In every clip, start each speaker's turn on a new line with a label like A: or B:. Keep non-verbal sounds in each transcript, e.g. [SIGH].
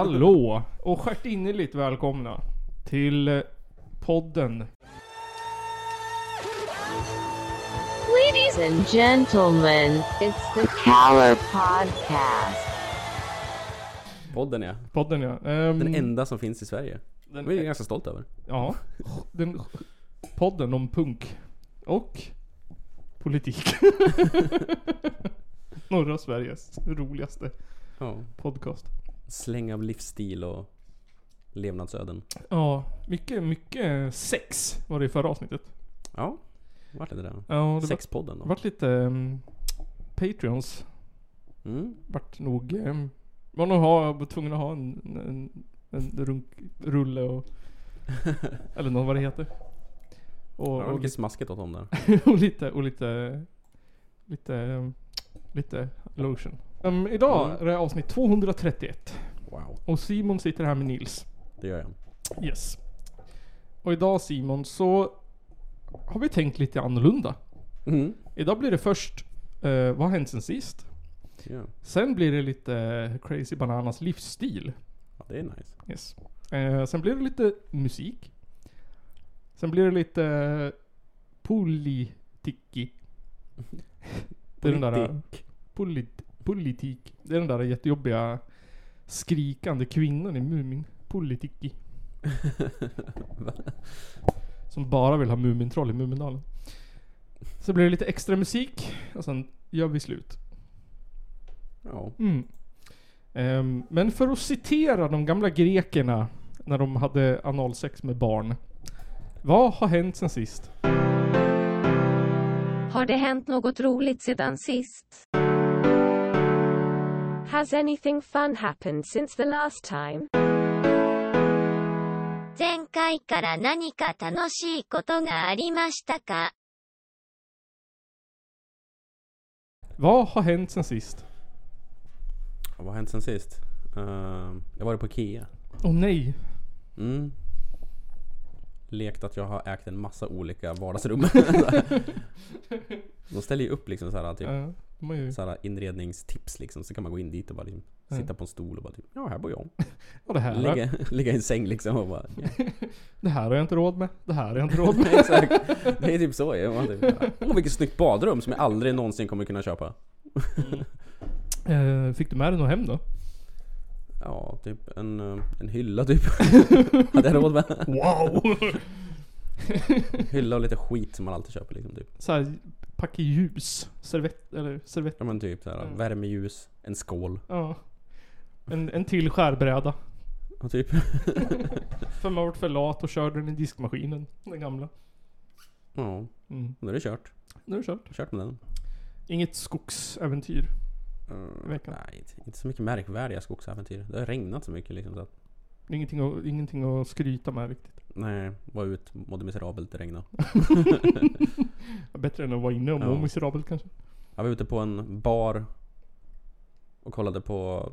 A: Hallå och stjärtinnerligt välkomna till eh, podden.
B: Ladies and gentlemen, it's the Cower Podcast.
C: Podden ja.
A: Podden ja. Ehm,
C: Den enda som finns i Sverige.
A: den-
C: Det är jag ganska stolt över.
A: Ja. Den, podden om punk. Och politik. [LAUGHS] Norra Sveriges roligaste
C: Ja.
A: podcast.
C: Släng av livsstil och levnadsöden.
A: Ja, mycket, mycket sex var det i förra avsnittet.
C: Ja. Vart är det där?
A: Ja, det
C: Sexpodden
A: var,
C: då.
A: vart lite ehm, Patreons
C: Mm.
A: vart nog... ehm, Var nog ha, var tvungen att ha en, en, en runkrulle och... eller något vad det heter. Och,
C: Det var
A: och,
C: mycket smaskigt åt dem där.
A: lite, [LAUGHS] och lite... Och lite... Lite... ehm, Lite lotion. Ehm, idag
C: Mm.
A: är det avsnitt 231.
C: Wow.
A: Och Simon sitter här med Nils.
C: Det gör jag.
A: Yes. Och idag Simon så... Har vi tänkt lite annorlunda.
C: Mm.
A: Idag blir det först... eh, vad har hänt sen sist?
C: Ja.
A: Sen blir det lite Crazy Bananas livsstil.
C: ja. Det är nice.
A: Yes. Eh, sen blir det lite musik. Sen blir det lite eh, politiki. Det är den där... Polit, politik. Det är den där jättejobbiga skrikande kvinnan i Mumin. Politiki. Som bara vill ha Mumintroll i Mumindalen. Så blir det lite extra musik och sen gör vi slut.
C: [LAUGHS] Ja.
A: Mm. Ehm, men för att citera de gamla grekerna när de hade analsex med barn. Vad har hänt sen sist?
B: Har det hänt något roligt sedan sist? Has anything fun happened since the last time?
D: 前回から何か楽しいことがありましたか
A: Vad har hänt sen sist?
C: Vad har hänt sen sist? Ehm, jag var på Ikea.
A: Åh nej.
C: Mm. Lekt att jag har ägt en massa
A: [LAUGHS]
C: olika vardagsrum. De ställer ju upp liksom så här typ
A: Eh, de har ju,
C: så här inredningstips liksom. Så kan man gå in dit och bara liksom
A: Mm.
C: sitta på en stol och bara typ, ja här bor jag.
A: ja, det, här,
C: Lägga, lägga i en säng liksom och
A: [LAUGHS]
C: bara, ja,
A: det här har jag inte råd med. Det här har jag inte
C: [LAUGHS]
A: råd med.
C: exakt. Det är typ så. Jag bara typ, Åh vilket snyggt badrum som jag aldrig någonsin kommer kunna köpa.
A: Eh, fick du med dig något hem då?
C: Ja, typ en, eh, en hylla typ. [LAUGHS] Hade jag råd med.
A: Wow!
C: Hylla och lite skit som man alltid köper liksom typ.
A: så här, packa ljus. Servett, eller servett.
C: Ja men typ så här,
A: Mm.
C: värmeljus, en skål
A: Ja. En, en till skärbräda.
C: och typ. [LAUGHS]
A: För man vart för lat och körde den i diskmaskinen. Den gamla.
C: Ja,
A: Mm.
C: nu är det kört.
A: Nu är det kört.
C: Kört med den.
A: Inget skogsäventyr.
C: Eh,
A: Veckan.
C: Nej, inte- inte så mycket märkvärdiga skogsäventyr. Det har regnat så mycket liksom så att,
A: Det är Ingenting att, ingenting att skryta med riktigt.
C: nej, var ut, mådde miserabelt, det regnade.
A: Bättre än att vara inne och må
C: Ja.
A: miserabelt kanske.
C: Jag var ute på en bar och kollade på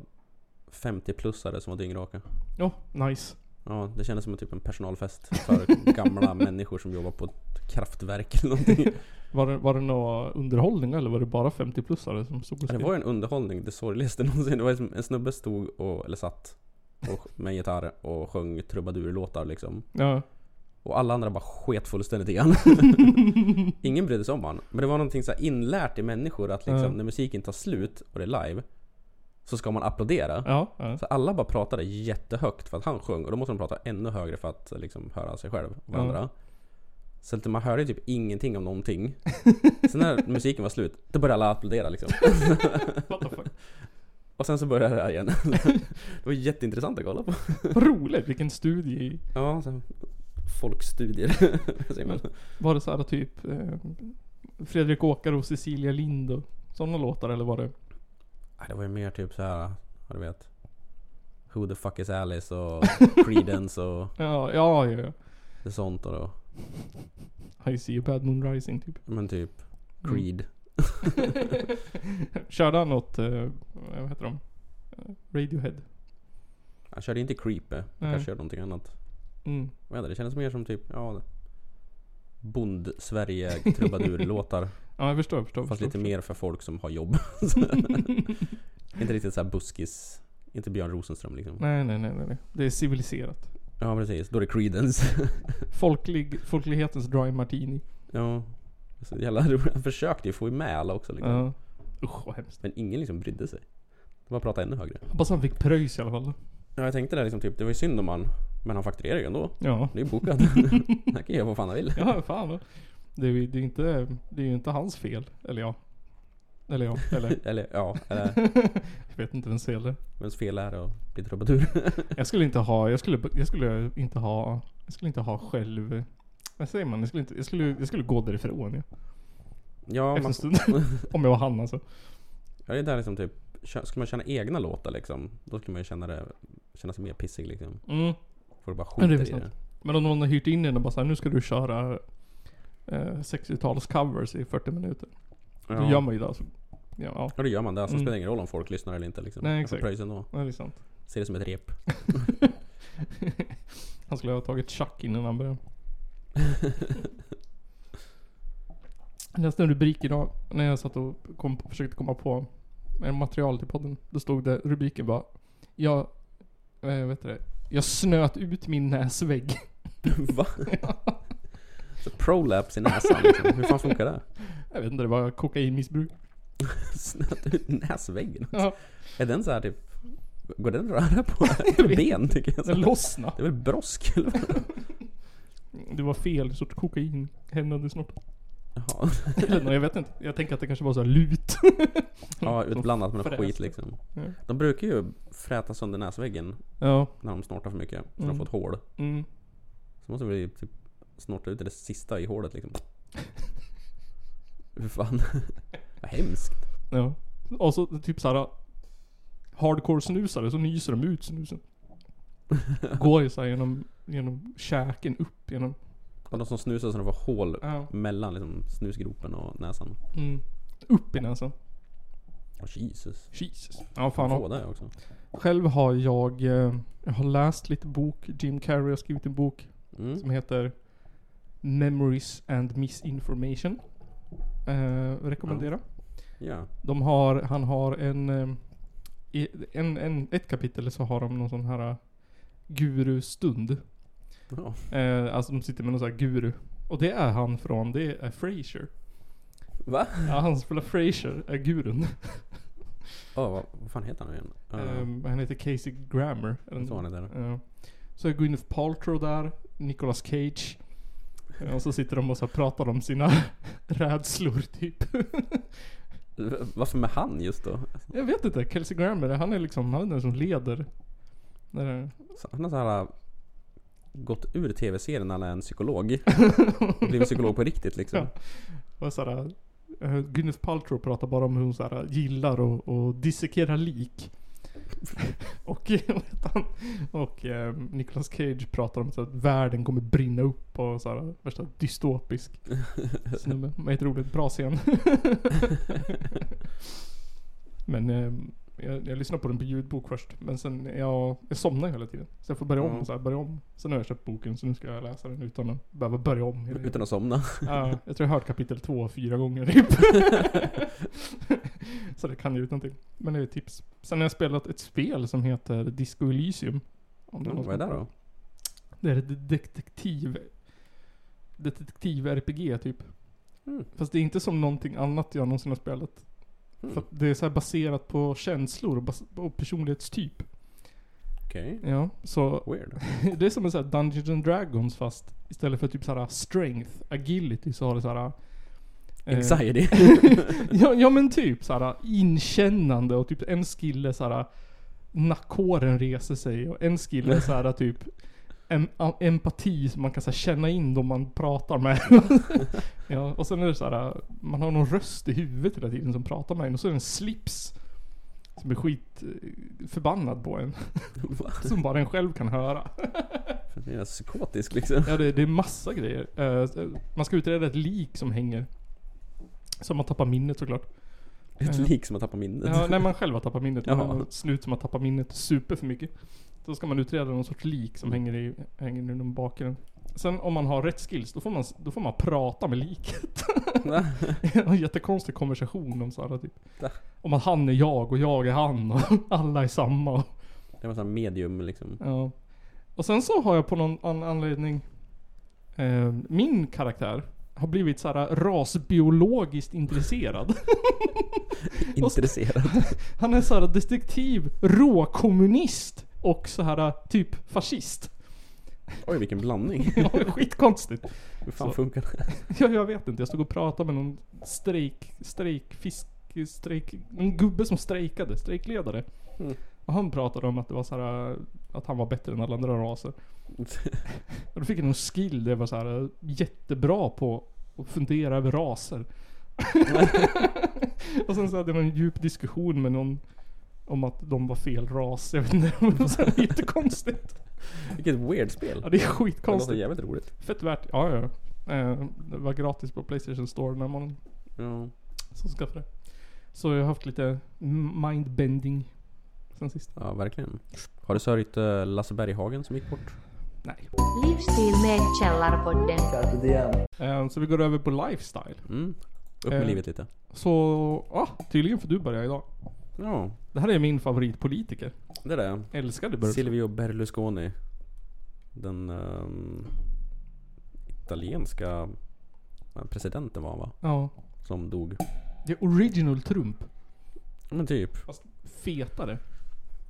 C: 50-plussare som var dyngraka.
A: Ja, nice.
C: Ja, det kändes som typ en personalfest för gamla människor som jobbar på ett kraftverk eller någonting.
A: Var det, var det någon underhållning eller var det bara 50-plussare som stod och
C: Ja, det
A: skrev?
C: var ju en underhållning, det sorgligaste [LAUGHS] någonsin. Det var liksom, en snubbe stod och, eller satt och, med en gitarr och sjöng trubadurlåtar liksom.
A: Ja.
C: Och alla andra bara sket fullständigt igen.
A: [LAUGHS]
C: Ingen brydde sig om han. Men det var någonting så här inlärt i människor att liksom,
A: Ja.
C: när musiken tar slut och det är live så ska man applådera.
A: Ja,
C: [LAUGHS]
A: ja.
C: Så alla bara pratade jättehögt för att han sjöng och då måste de prata ännu högre för att liksom höra sig själv och varandra. Så att man hörde ju typ ingenting
A: [LAUGHS]
C: om någonting. Sen när musiken var slut, då började alla applådera liksom.
A: What the fuck.
C: Och sen så började det
A: [LAUGHS]
C: här igen. Det var jätteintressant att kolla på.
A: Vad roligt, vilken studie. i-
C: Ja, så folkstudier. [LAUGHS] säger man.
A: Var det så här typ eh, Fredrik Åkare och Cecilia Lind och sådana låtar eller var det?
C: Nej, Det var ju mer typ så här, ja, du vet. Who the fuck is
A: [LAUGHS]
C: Alice och Creedence och
A: Ja, ja, ja.
C: sånt och då.
A: ja. I see a bad moon rising typ.
C: Men typ
A: Mm.
C: Creed.
A: Körde han något, eh, vad heter de? Eh, Radiohead.
C: Han körde inte Creep, eh. han
A: Nej.
C: kanske körde någonting annat.
A: Mm.
C: Jag vet inte, det kändes mer som typ, ja... Bond-Sverige
A: [LAUGHS]
C: trubadurlåtar.
A: Ja, jag förstår, jag förstår. [LAUGHS]
C: fast
A: förstår,
C: lite
A: förstår.
C: mer för folk som har jobb. inte riktigt såhär buskis Inte Björn Rosenström liksom.
A: Nej, nej, nej, nej. nej. Det är civiliserat.
C: Ja precis, då är det Creedence.
A: Folklig, folklighetens dry martini.
C: [LAUGHS] ja. Så jävla roligt. Han försökte ju få med alla också liksom.
A: Ja. Usch vad hemskt.
C: Men ingen liksom brydde sig. De bara pratade ännu högre.
A: Hoppas han fick pröjs i alla fall.
C: Ja jag tänkte det liksom typ, det var ju synd om han. Men han fakturerar ju ändå.
A: Ja.
C: Det är
A: [LAUGHS]
C: ju bokat. han kan göra vad fan han vill.
A: Ja, fan. Det är ju det är inte, det är ju inte hans fel. Eller ja. Eller ja. Eller
C: Eller ja, eller
A: jag vet inte vems fel det är.
C: vems fel är det att bli trubadur? [LAUGHS]
A: Jag skulle inte ha, jag skulle, jag skulle inte ha, jag skulle inte ha själv... Vad säger man? Jag skulle, inte, jag skulle, jag skulle gå därifrån ja.
C: ja,
A: Efter
C: man,
A: en stund. [LAUGHS] Om jag var han alltså.
C: ja, det är där liksom typ. kö- Ska man känna egna låtar liksom. Då ska man ju känna, det, känna sig mer pissig liksom.
A: Mm.
C: Folk bara
A: Ja,
C: skiter
A: det är
C: i
A: sant.
C: det.
A: Men om någon har hyrt in en och bara såhär, nu ska du köra eh, 60-tals covers i 40 minuter. Då gör
C: Ja.
A: man ju det alltså. Ja, ja.
C: ja, då gör man det. Alltså, det
A: Mm.
C: spelar ingen roll om folk lyssnar eller inte liksom.
A: Nej,
C: Jag får
A: exakt.
C: pröjs ändå.
A: det är liksom- sant.
C: Ser det som ett
A: [LAUGHS]
C: rep.
A: han skulle ha tagit tjack innan han [LAUGHS] började. Jag läste en rubrik idag när jag satt och kom, försökte komma på en material till podden. Då stod det, rubriken bara Jag, eh, vet du det? Jag snöt ut min näsvägg. [LAUGHS]
C: Va? Så prolaps i näsan liksom. Hur fan funkar det?
A: Jag vet inte, det var kokainmissbruk.
C: Snöt ut näsväggen.
A: Ja,
C: Är den så här typ... Går den att
A: [LAUGHS]
C: röra på? ben tycker jag.
A: den
C: Så.
A: lossnade.
C: Det är väl brosk eller vad?
A: Det var fel sorts kokain. Hämnade snart.
C: Jaha.
A: Eller nå, jag vet inte. Jag tänker att det kanske var så här lut.
C: Ja, utblandat med något
A: fräs,
C: skit
A: typ.
C: liksom.
A: Ja.
C: De brukar ju fräta sönder näsväggen
A: [LAUGHS] Ja.
C: när de snortar för mycket. Så
A: Mm.
C: de får ett hål.
A: Mm.
C: Så måste vi typ snorta ut det sista i hålet liksom. Hur fan? Vad hemskt.
A: Ja. Och så typ såhär Hardcore snusare så nyser de ut
C: [LAUGHS]
A: snusen. Går ju såhär genom, genom käken upp genom...
C: Och de som snusar så de får hål
A: Ja.
C: mellan liksom, snusgropen och näsan.
A: Mm. Upp i näsan.
C: Åh Jesus.
A: Jesus. Ja fan.
C: Få
A: Och
C: det också.
A: själv har jag, eh, jag har läst lite bok. Jim Carrey har skrivit en bok
C: Mm.
A: som heter Memories and Misinformation. Eh, rekommendera.
C: Ja.
A: De har, han har en, eh, i- en, en, ett kapitel så har de någon sån här eh, gurustund.
C: Ja.
A: Eh, alltså de sitter med någon sån här guru. Och det är han från, det är Frasier.
C: Va?
A: Ja, han som spelar Frasier är gurun.
C: Åh, vad, vad fan heter han nu igen? Uh,
A: Eh, han heter Casey Grammer. eller
C: så han heter.
A: Ja. Så är Gwyneth Paltrow där, Nicolas Cage. Eh, Och så sitter de och så här pratar om sina [LAUGHS] rädslor typ. [LAUGHS]
C: V- Varför med han just då?
A: Jag vet inte, Kelsey Grammer, han är liksom, han är den som leder. Det där.
C: Så- Han har så här äh, gått ur tv-serien när han är
A: [LAUGHS]
C: en psykolog. Och blivit psykolog på riktigt liksom.
A: Och såhär, eh, Gwyneth Paltrow pratar bara om hur hon såhär, gillar och, och dissekera lik. [LAUGHS] och vet han, och eh, Nicolas Cage pratar om så att världen kommer brinna upp och såhär, värsta dystopisk snubbe. Men ett roligt, bra scen. [LAUGHS] Men eh, jag, jag lyssnar på den på ljudbok först. Men sen, jag, jag somnar ju hela tiden. Så jag får börja om
C: Mm.
A: och så här, börja om. Sen har jag köpt boken så nu ska jag läsa den utan att behöva börja om. hela tiden.
C: Utan att somna.
A: Mm. Ja, [LAUGHS] jag tror jag har hört kapitel två fyra gånger typ. så det kan ju ut någonting. Men det är ett tips. Sen har jag spelat ett spel som heter Disco Elysium. Om det
C: Mm,
A: någon
C: vad är det
A: som-
C: då?
A: Det är ett detektiv... Detektiv-RPG typ.
C: Mm.
A: Fast det är inte som någonting annat jag någonsin har spelat.
C: Mm.
A: För att det är så här baserat på känslor och, bas- och personlighetstyp.
C: Okej.
A: Ja, så
C: Weird.
A: [LAUGHS] det är som en sån här Dungeons and Dragons fast istället för typ såhär strength, agility så har det såhär... Eh,
C: Anxiety.
A: [LAUGHS] ja, ja men typ såhär inkännande och typ en skille såhär Nackhåren reser sig och en skille såhär typ em, a, Empati som man kan såhär, känna in de man pratar med. [LAUGHS] ja, och sen är det såhär, man har någon röst i huvudet hela tiden som pratar med en och så är det en slips. Som är skit eh, förbannad på en.
C: [LAUGHS]
A: [LAUGHS]
C: Va?
A: Som bara en själv kan höra.
C: Det är psykotisk liksom.
A: Ja det, det är massa grejer. Eh, man ska utreda ett lik som hänger. Så man tappar minnet såklart.
C: Ett
A: Eh.
C: lik som har tappat minnet.
A: Ja, när man själv har tappat minnet.
C: Jaha.
A: Man har en snut som har tappat minnet super för mycket. Då ska man utreda någon sorts lik som hänger i, hänger i den bakgrunden. Sen om man har rätt skills, då får man, då får man prata med [LAUGHS] liket.
C: [LAUGHS] Va?
A: en jättekonstig konversation om sådana typ.
C: Va?
A: Om att han är jag och jag är han och [LAUGHS] alla är samma. Och
C: Det var sån här medium liksom.
A: Ja. Och sen så har jag på någon an- anledning, eh, min karaktär har blivit så här eh, rasbiologiskt intresserad.
C: Intresserad.
A: [LAUGHS] Han är så här detektiv, råkommunist och så här typ fascist.
C: Oj vilken blandning.
A: Ja, skitkonstigt.
C: Hur fan
A: Så.
C: funkar det?
A: [LAUGHS] Ja, jag vet inte. Jag stod och pratade med någon strejk, strejkfisk, strejk, en gubbe som strejkade, strejkledare.
C: Mm.
A: Och han pratade om att det var så här, äh, att han var bättre än alla andra
C: [LAUGHS]
A: raser. Och då fick jag någon skill där jag var så här äh, jättebra på att fundera över
C: [LAUGHS]
A: raser. och sen så hade man en djup diskussion med någon om att de var fel ras. Jag vet inte, det var så här jättekonstigt.
C: Vilket weird spel.
A: Ja, det är
C: Det låter
A: skitkonstigt.
C: jävligt roligt.
A: Fett värt. Ja, ja. Eh, det var gratis på Playstation Store den här månaden.
C: Ja.
A: Så skaffade det. Så jag har haft lite mindbending sen sist.
C: Ja, verkligen. Har du sörjt eh, Lasse Berghagen som gick bort?
A: Nej.
E: Livsstil med Källarpodden.
A: Eh, så vi går över på lifestyle.
C: Mm. Upp med
A: Eh.
C: livet lite.
A: Så, ah, tydligen får du börja idag.
C: Ja,
A: Det här är min favoritpolitiker.
C: det är det.
A: Älskar du Burf?
C: Silvio Berlusconi. Den ehm, italienska eh, presidenten var han va?
A: Ja.
C: Som dog.
A: Det är original Trump.
C: Men typ.
A: Fast fetare.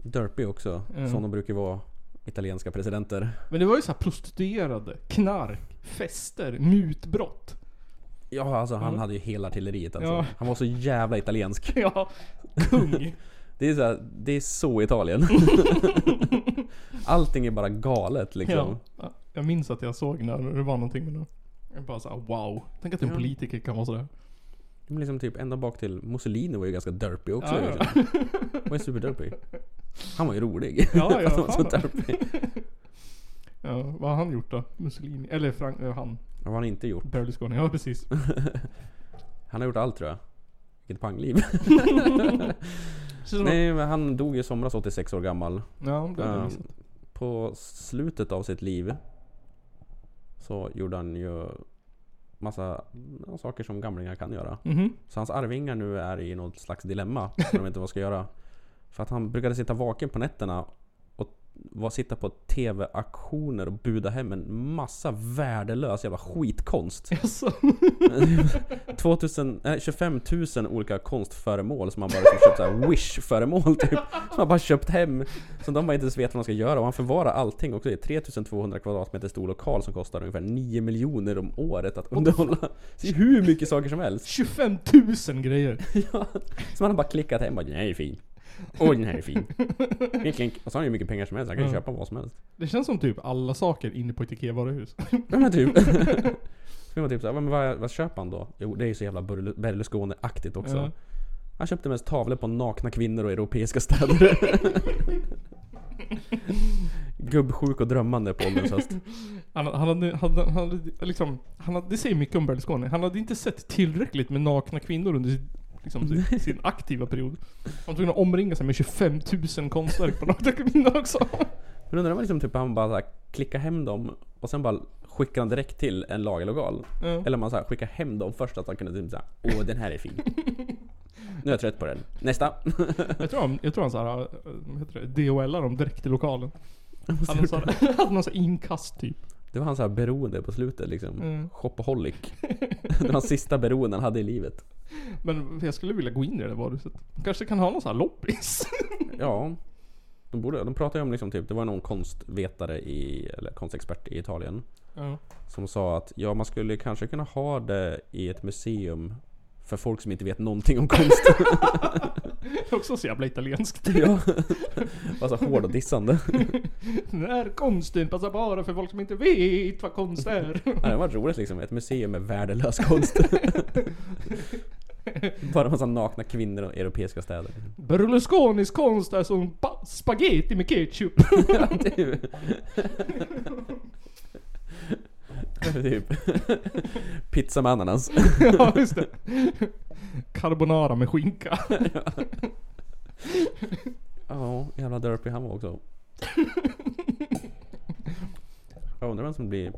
C: Derpy också.
A: Mm.
C: Som de brukar vara. Italienska presidenter.
A: Men det var ju så här prostituerade, knark, fester, mutbrott. [LAUGHS]
C: Ja, alltså han
A: Mm.
C: hade ju hela artilleriet alltså.
A: Ja.
C: Han var så jävla italiensk.
A: Ja,
C: [LAUGHS]
A: kung.
C: Det är så, här, det är
A: [LAUGHS]
C: så Italien. Allting är bara galet liksom.
A: ja. Ja, Jag minns att jag såg när det var någonting med det. Jag bara såhär wow. Tänk att en
C: Ja.
A: politiker kan vara sådär.
C: Men liksom typ ända bak till Mussolini var ju ganska derpy också.
A: Ja, ja.
C: liksom. Han var ju superderpy. Han var ju rolig.
A: Ja, ja,
C: Att [LAUGHS] han var så
A: fan.
C: derpy.
A: Ja, vad har han gjort då? Mussolini? Eller Frank, eh, han.
C: Vad har han inte gjort?
A: Berlusconi, ja [LAUGHS] precis.
C: Han har gjort allt tror jag.
A: [LAUGHS]
C: Vilket pangliv.
A: Så,
C: Nej men han dog ju i somras 86 år gammal.
A: Ja, det hade jag
C: Ehm,
A: missat.
C: På slutet av sitt liv så gjorde han ju massa ja, saker som gamlingar kan göra.
A: Mhm.
C: Så hans arvingar nu är i något slags dilemma. När de inte vad ska göra. För att han brukade sitta vaken på nätterna och var, sitta på TV-aktioner och buda hem en massa värdelös jävla skitkonst.
A: Jaså? [LAUGHS]
C: 2000, nej, 25 000 olika konstföremål som han bara liksom
A: [LAUGHS]
C: köpt såhär wish-föremål typ. Som han bara köpt hem. Som de bara inte ens vet vad de ska göra. Och han förvarar allting också i 3200 kvadratmeter stor lokal som kostar ungefär 9 miljoner om året att underhålla. Så det är hur mycket saker som helst.
A: 25 000 grejer.
C: Ja. Så man har bara klickat hem och bara, den här är fin. Och den här är fin. Klink, klink. Och så har han ju mycket pengar som helst, han kan ju
A: Ja.
C: köpa vad som helst.
A: Det känns som typ alla saker inne på ett IKEA-varuhus. [LAUGHS] Liksom.
C: Ja, Men typ. [LAUGHS] Så man typ såhär, men vad, vad köper han då? Jo det är ju så jävla Berlu- Berlusconi-aktigt också.
A: Ja.
C: Han köpte mest tavlor på nakna kvinnor och europeiska städer. Gubbsjuk och drömmande på ålderns höst.
A: Han, han, hade, hade, han, hade, liksom, han hade, det säger mycket om Berlusconi. Han hade inte sett tillräckligt med nakna kvinnor under sin, liksom, sin, sin aktiva period. Han tog att omringa sig med 25 000 konstverk på nakna kvinnor [LAUGHS] också.
C: Men undrar om liksom typ han bara såhär, klickar hem dem och sen bara skickar han direkt till en lagerlokal.
A: Ja.
C: Eller om man så här, skickar hem dem först att han kunde typ såhär Åh den här är fin. Nu är jag trött på den. Nästa!
A: Jag tror han, jag tror han såhär, äh, vad heter det, DHL-ar dem direkt till lokalen. Han hade, såhär, [LAUGHS] hade någon sån här inkast typ.
C: Det var hans så här beroende på slutet liksom.
A: Mm.
C: Shopaholic. det var hans sista beroende han hade i livet.
A: Men jag skulle vilja gå in i det där varuhuset. Kanske kan ha någon sån här loppis.
C: Ja. De, borde, de pratade ju om liksom typ, det var någon konstvetare i, eller konstexpert i Italien.
A: Ja.
C: Som sa att ja man skulle kanske kunna ha det i ett museum. För folk som inte vet någonting om konst.
A: Det är [LAUGHS] också så jävla italienskt.
C: ja. Alltså hård och dissande.
A: Den här konsten passar bara för folk som inte vet vad konst är.
C: Ja, det var roligt liksom. Ett museum med värdelös konst. Bara massa nakna kvinnor och europeiska städer.
A: [LAUGHS] Berlusconis konst är som pa- spaghetti med ketchup. [LAUGHS]
C: Ja, typ. typ. Pizza med ananas.
A: ja, just det. Carbonara med skinka.
C: Ja, jävla derpy han
A: [LAUGHS]
C: var också. Jag undrar vem som blir...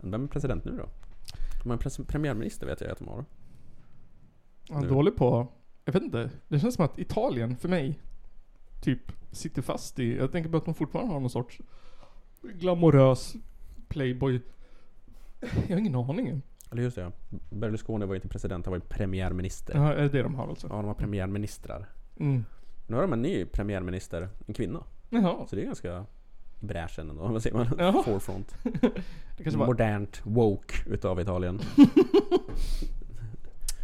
C: Vem är president nu då? De har en pres- premiärminister vet jag att de har.
A: Han är dålig på... Jag vet inte. Det känns som att Italien, för mig, typ sitter fast i. Jag tänker på att hon fortfarande har någon sorts glamorös playboy. Jag har ingen aning.
C: Eller just det ja. Berlusconi var ju inte president, han var ju premiärminister.
A: Ja, är det det de har alltså?
C: Ja, de har premiärministrar.
A: Mm.
C: Nu har de en ny premiärminister, en kvinna.
A: Jaha.
C: Så det är ganska bräschen ändå, vad säger man?
A: Ja.
C: Forefront.
A: Det kanske var,
C: Modernt, woke utav Italien.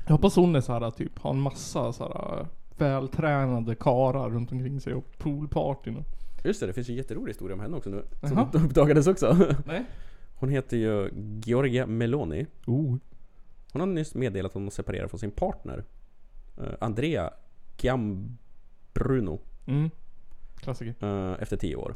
A: jag hoppas hon är så här typ, har en massa så här vältränade karar runt omkring sig och poolpartyn. och-
C: Just det, det finns ju en jätterolig historia om henne också nu. Som
A: Jaha.
C: [LAUGHS] uppdagades också.
A: Nej.
C: Hon heter ju Giorgia Meloni.
A: Oh.
C: Hon har nyss meddelat att hon separerar från sin partner. eh, Andrea Giambruno.
A: Mm. Klassiker.
C: eh, efter tio år.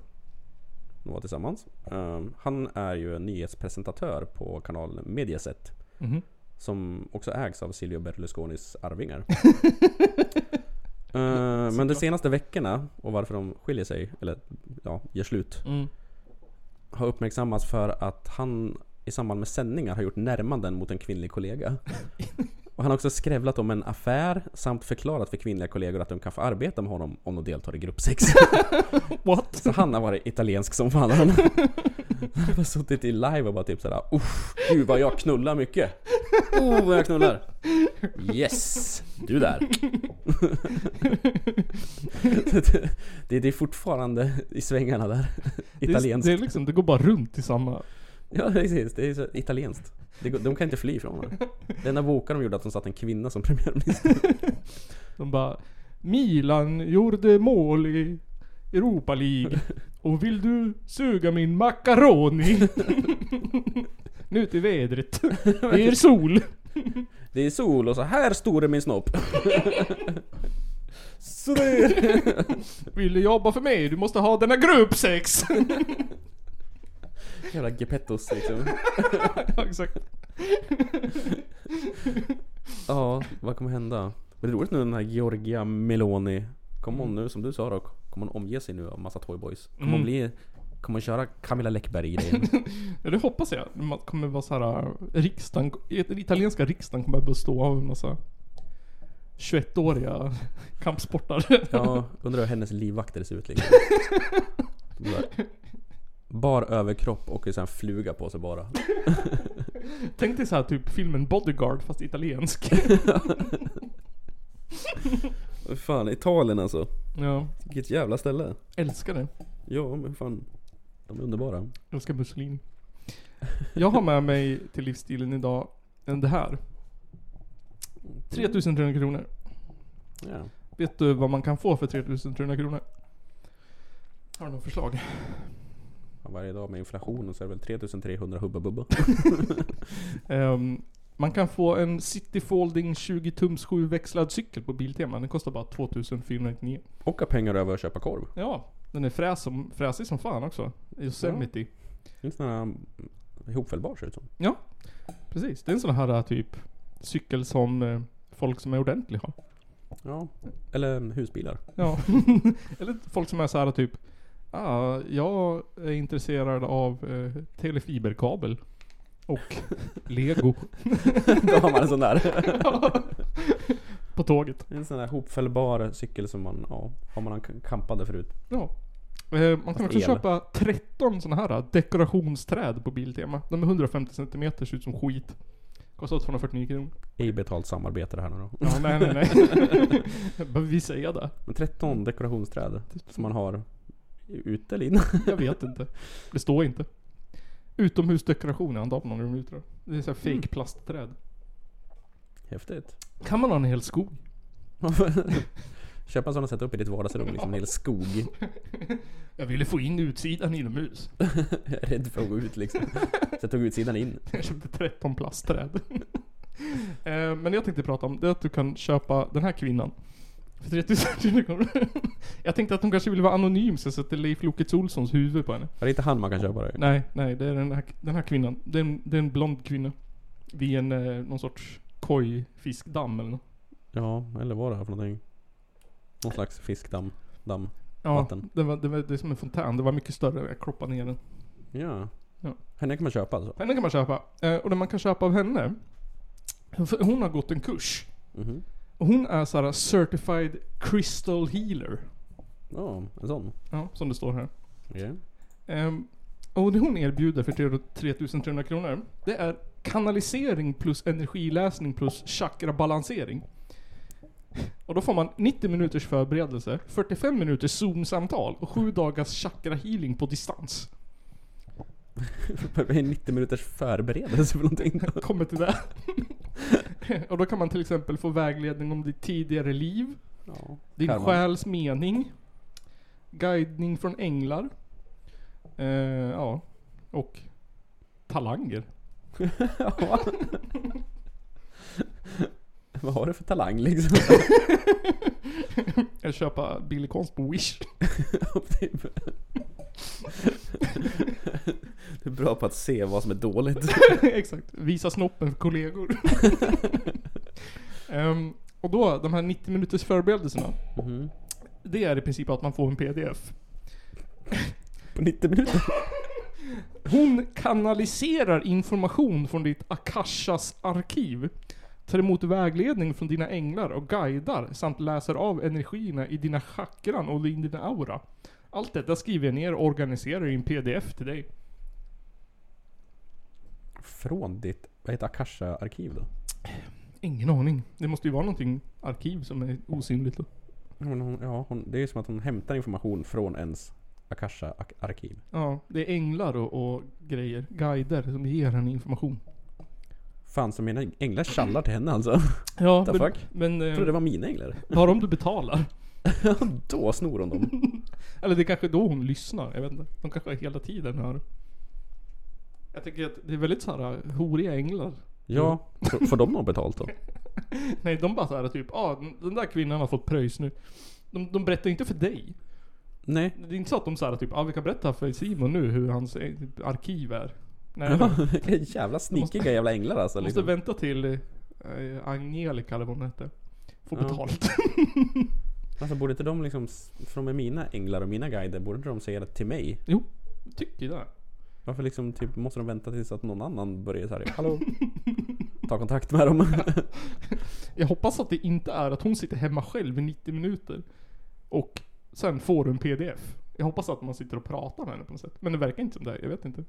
C: De var tillsammans. Eh, han är ju en nyhetspresentatör på kanalen Mediaset.
A: Mhm.
C: Som också ägs av Silvio Berlusconis arvingar.
A: [LAUGHS]
C: Eh, men de senaste veckorna och varför de skiljer sig, eller ja, gör slut.
A: Mm.
C: Har uppmärksammats för att han i samband med sändningar har gjort närmanden mot en
A: [LAUGHS]
C: kvinnlig kollega. Och han har också skrävlat om en affär samt förklarat för kvinnliga kollegor att de kan få arbeta med honom om de deltar i gruppsex.
A: What?
C: Så han har varit italiensk som fan. [LAUGHS] Han han har suttit i live och bara typ sådär Uff, gud vad jag knullar mycket. Oh vad jag knullar. Yes, du där. [LAUGHS] det, det är fortfarande i svängarna där. Italienskt.
A: Det, är- det, är liksom, det går bara runt i samma...
C: Ja precis, det är så italienskt. Det, går- de kan inte fly från det. Den enda boken de gjorde att de satt en kvinna som premiärminister.
A: De bara Milan gjorde mål i Europa League. Och vill du suga min macaroni? [LAUGHS] nu till vädret. Det är sol.
C: Det är sol och så här stor är
A: [LAUGHS]
C: min snopp. Så det är...
A: Vill du jobba för mig? Du måste ha denna gruppsex. [LAUGHS]
C: Jävla gepettos liksom.
A: ja, exakt.
C: Ja, vad kommer hända? Men det är roligt nu den här Georgia Meloni. Kommer hon nu, som du sa då, kommer hon omge sig nu av massa toyboys? Kommer hon
A: Mm.
C: bli... Kommer hon köra Camilla [LAUGHS] Läckberg-grejen?
A: Ja, det hoppas jag. Man kommer vara så här, äh, riksdagen, i- den italienska riksdagen kommer att bestå av en massa 21-åriga [LAUGHS] kampsportare.
C: ja, undrar hur hennes livvakter ser ut [LAUGHS] liksom. De där. Bar överkropp och en sån här fluga på sig bara.
A: [LAUGHS] Tänk dig så här typ filmen Bodyguard fast italiensk.
C: Fan, Italien alltså.
A: Ja,
C: Vilket jävla ställe.
A: älskar det.
C: Ja, men fan. De är underbara.
A: Älskar mussolin. Jag har med mig till livsstilen idag en det här. 3300 kronor.
C: Ja.
A: Vet du vad man kan få för 3300 kronor? Har du något förslag?
C: Ja, Varje dag med inflationen så är det väl 3300 hubba bubba.
A: Ehm, man kan få en City Folding 20 tums 7-växlad cykel på Biltema. Den kostar bara 2499.
C: Och har pengar över att köpa korv.
A: Ja, den är fräs som, fräsig som fan också. Yosemite.
C: Det är en sån här mm, ihopfällbar ser det ut som.
A: Precis, det är en sån här äh, typ cykel som eh, folk som är ordentliga har.
C: Ja, eller mm, husbilar.
A: Ja. [LAUGHS] Eller folk som är så här typ ah, jag är intresserad av eh, telefiberkabel. Och lego.
C: [LAUGHS] Då har man en sån där.
A: på tåget.
C: En sån där hopfällbar cykel som man, ja, har man en kampade förut.
A: Ja. Eh, man kan
C: Fast
A: också
C: el.
A: köpa 13 såna här äh, dekorationsträd på Biltema. De är 150 cm, ser ut som skit. Kostar 249 kronor.
C: Ej betalt samarbete det här nu då.
A: Ja, nej nej
C: [LAUGHS]
A: nej. Behöver vi säga det?
C: Men 13 dekorationsträd som man har ute eller inne.
A: Jag vet inte. Det står inte. Utomhusdekoration är antar på någon minut tror jag. Det är så här fake
C: Mm.
A: plastträd.
C: [LAUGHS] Häftigt. [LAUGHS]
A: Kan man ha en hel skog?
C: Köpa en sån och sätta upp i ditt vardagsrum, liksom en hel skog. [LAUGHS]
A: Jag ville få in utsidan inomhus.
C: Jag är rädd för att gå ut liksom. Så jag tog utsidan in.
A: [LAUGHS] Jag köpte 13 plastträd. [LAUGHS] Eh, Men jag tänkte prata om det är att du kan köpa den här kvinnan. För 3000 kronor. [LAUGHS] Jag tänkte att hon kanske ville vara anonym så jag sätter Leif Lokets Olssons huvud på henne.
C: Är det inte han man kan köpa det?
A: Nej, nej, det är den här, den här kvinnan. Det är, en, det är en blond kvinna. Vid en, eh, någon sorts kojfiskdamm eller något.
C: Ja, eller vad är det här för någonting? Någon slags fiskdamm. Damm.
A: Ja,
C: Vatten.
A: det, var, det, var, det är som en fontän. Det var mycket större. Jag kroppade ner den.
C: Ja.
A: Ja.
C: Henne kan man köpa alltså?
A: Henne kan man köpa. Eh, Och det man kan köpa av henne. för Hon har gått en kurs.
C: Mhm.
A: Och Hon är såhär certified crystal healer.
C: Ja, en sån.
A: Ja, som det står här.
C: Okej.
A: Ehm, och det hon erbjuder för 300 3300 kronor, det är kanalisering plus energiläsning plus chakrabalansering. Och då får man 90 minuters förberedelse, 45 minuters zoom-samtal och 7 dagars chakra-healing på distans.
C: Behöver vi 90 minuters förberedelse för någonting.
A: Kommer till det. [LAUGHS] och då kan man till exempel få vägledning om ditt tidigare liv,
C: Ja.
A: Din
C: Herman.
A: själs mening. Guidning från änglar. Eh, ja. Och talanger.
C: Ja. [LAUGHS] Vad har du för talang [LAUGHS] liksom?
A: Eller köpa billig konst på Wish.
C: Typ. Du är bra på att se vad som är dåligt.
A: [LAUGHS] Exakt. Visa snoppen för [LAUGHS] kollegor. Ehm, och då, de här 90 minuters förberedelserna.
C: Mhm.
A: Det är i princip att man får en pdf.
C: På 90 minuter.
A: Hon kanaliserar information från ditt Akashas arkiv. Tar emot vägledning från dina änglar och guidar samt läser av energierna i dina chakran och i din aura. Allt detta skriver jag ner och organiserar i en pdf till dig.
C: Från ditt, vad heter Akasha-arkiv då?
A: Ingen aning. Det måste ju vara någonting arkiv som är osynligt då.
C: Ja, men hon, ja, hon, det är ju som att hon hämtar information från ens Akasha-arkiv.
A: Ja, det är änglar och, och grejer. Guider som ger henne information.
C: Fan, så mina änglar tjallar till henne alltså. Jag
A: Ja,
C: The
A: men,
C: fuck?
A: men eh,
C: trodde det var mina änglar.
A: bara om du betalar.
C: Då snor hon dem.
A: Eller det är kanske då hon lyssnar, jag vet inte. De kanske hela tiden hör. Jag tycker att det är väldigt såhär horiga änglar. [LAUGHS]
C: Ja, får- får de något betalt då?
A: Nej, de bara såhär typ, ah, den- den där kvinnan har fått pröjs nu. De, de berättar inte för dig.
C: Nej.
A: Det är inte så att de såhär typ, ah, vi kan berätta för Simon nu hur hans eh, arkiv är.
C: [LAUGHS]
A: Nej, nej.
C: Vilka jävla snikiga jävla änglar alltså.
A: De måste
C: Liksom.
A: vänta till eh, Angelica eller vad hon hette. Får
C: Ja.
A: betalt. [LAUGHS]
C: Alltså borde inte de liksom, s- för de är mina änglar och mina guider, borde inte de säga det till mig?
A: jo, tycker det.
C: Varför liksom typ måste de vänta tills att någon annan börjar såhär, hallå? [LAUGHS] Ta kontakt med dem. [LAUGHS]
A: Jag hoppas att det inte är att hon sitter hemma själv i 90 minuter. Och sen får du en pdf. Jag hoppas att man sitter och pratar med henne på något sätt. Men det verkar inte som det. Jag vet inte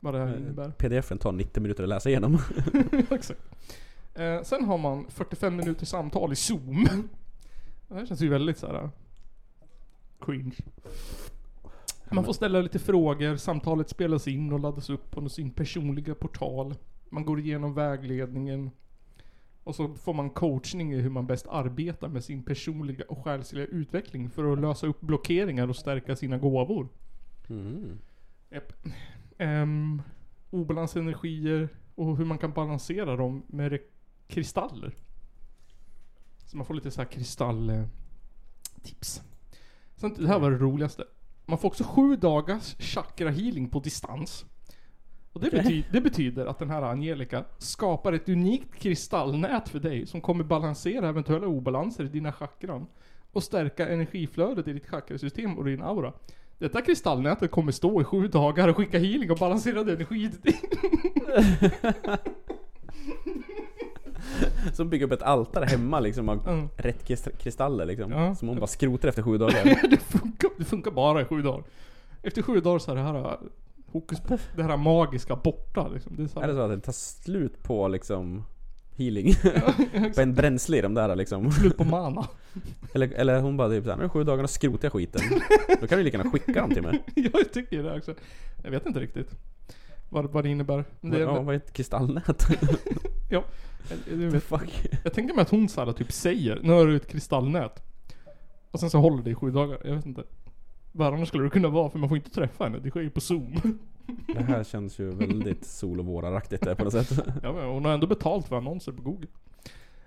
A: vad det här innebär.
C: PDFen tar 90 minuter att läsa igenom.
A: [LAUGHS] Exakt. Eh, sen har man 45 minuters samtal i zoom. Det här känns ju väldigt såhär... Cringe. Man får ställa lite frågor, samtalet spelas in och laddas upp på sin personliga portal. Man går igenom vägledningen. Och så får man coachning i hur man bäst arbetar med sin personliga och själsliga utveckling för att lösa upp blockeringar och stärka sina gåvor.
C: Mm.
A: Japp. Ehm, obalansenergier och hur man kan balansera dem med re- kristaller. Så man får lite så här kristalltips. Sen, det här var det roligaste. Man får också sju dagars chakra healing på distans. Och det, bety- det betyder att den här Angelica skapar ett unikt kristallnät för dig som kommer balansera eventuella obalanser i dina chakran och stärka energiflödet i ditt chakrasystem och din aura. Detta kristallnätet kommer stå i sju dagar och skicka healing och balanserad energi till dig.
C: Som bygger upp ett altare hemma liksom av
A: Mm.
C: rätt kris- kristaller liksom.
A: Ja.
C: Som hon bara skrotar efter sju dagar.
A: [LAUGHS] Det funkar, det funkar bara i sju dagar. Efter sju dagar så är det här äh, hokus pokus, det här magiska borta liksom. Det är så
C: är det
A: här,
C: så att det tar slut på liksom healing?
A: exakt.
C: på en bränsle i de där liksom.
A: slut på mana. [LAUGHS]
C: Eller, eller hon bara typ såhär, nu är det sju dagar och skrotar jag skiten. Då kan du lika gärna skicka dem till mig.
A: jag tycker det också. Jag vet inte riktigt vad, vad det innebär. Men Det,
C: ja, vad är ett kristallnät? [LAUGHS]
A: jag, [LAUGHS] jag, vet,
C: Fuck.
A: jag tänker mig att hon så här, typ säger, nu har du ett kristallnät. Och sen så håller det i sju dagar. Jag vet inte. Vad annars skulle det kunna vara? För man får inte träffa henne. Det sker ju på zoom.
C: Det här känns ju väldigt sol och våraraktigt där på något sätt.
A: Ja, men hon har ändå betalt för annonser på Google.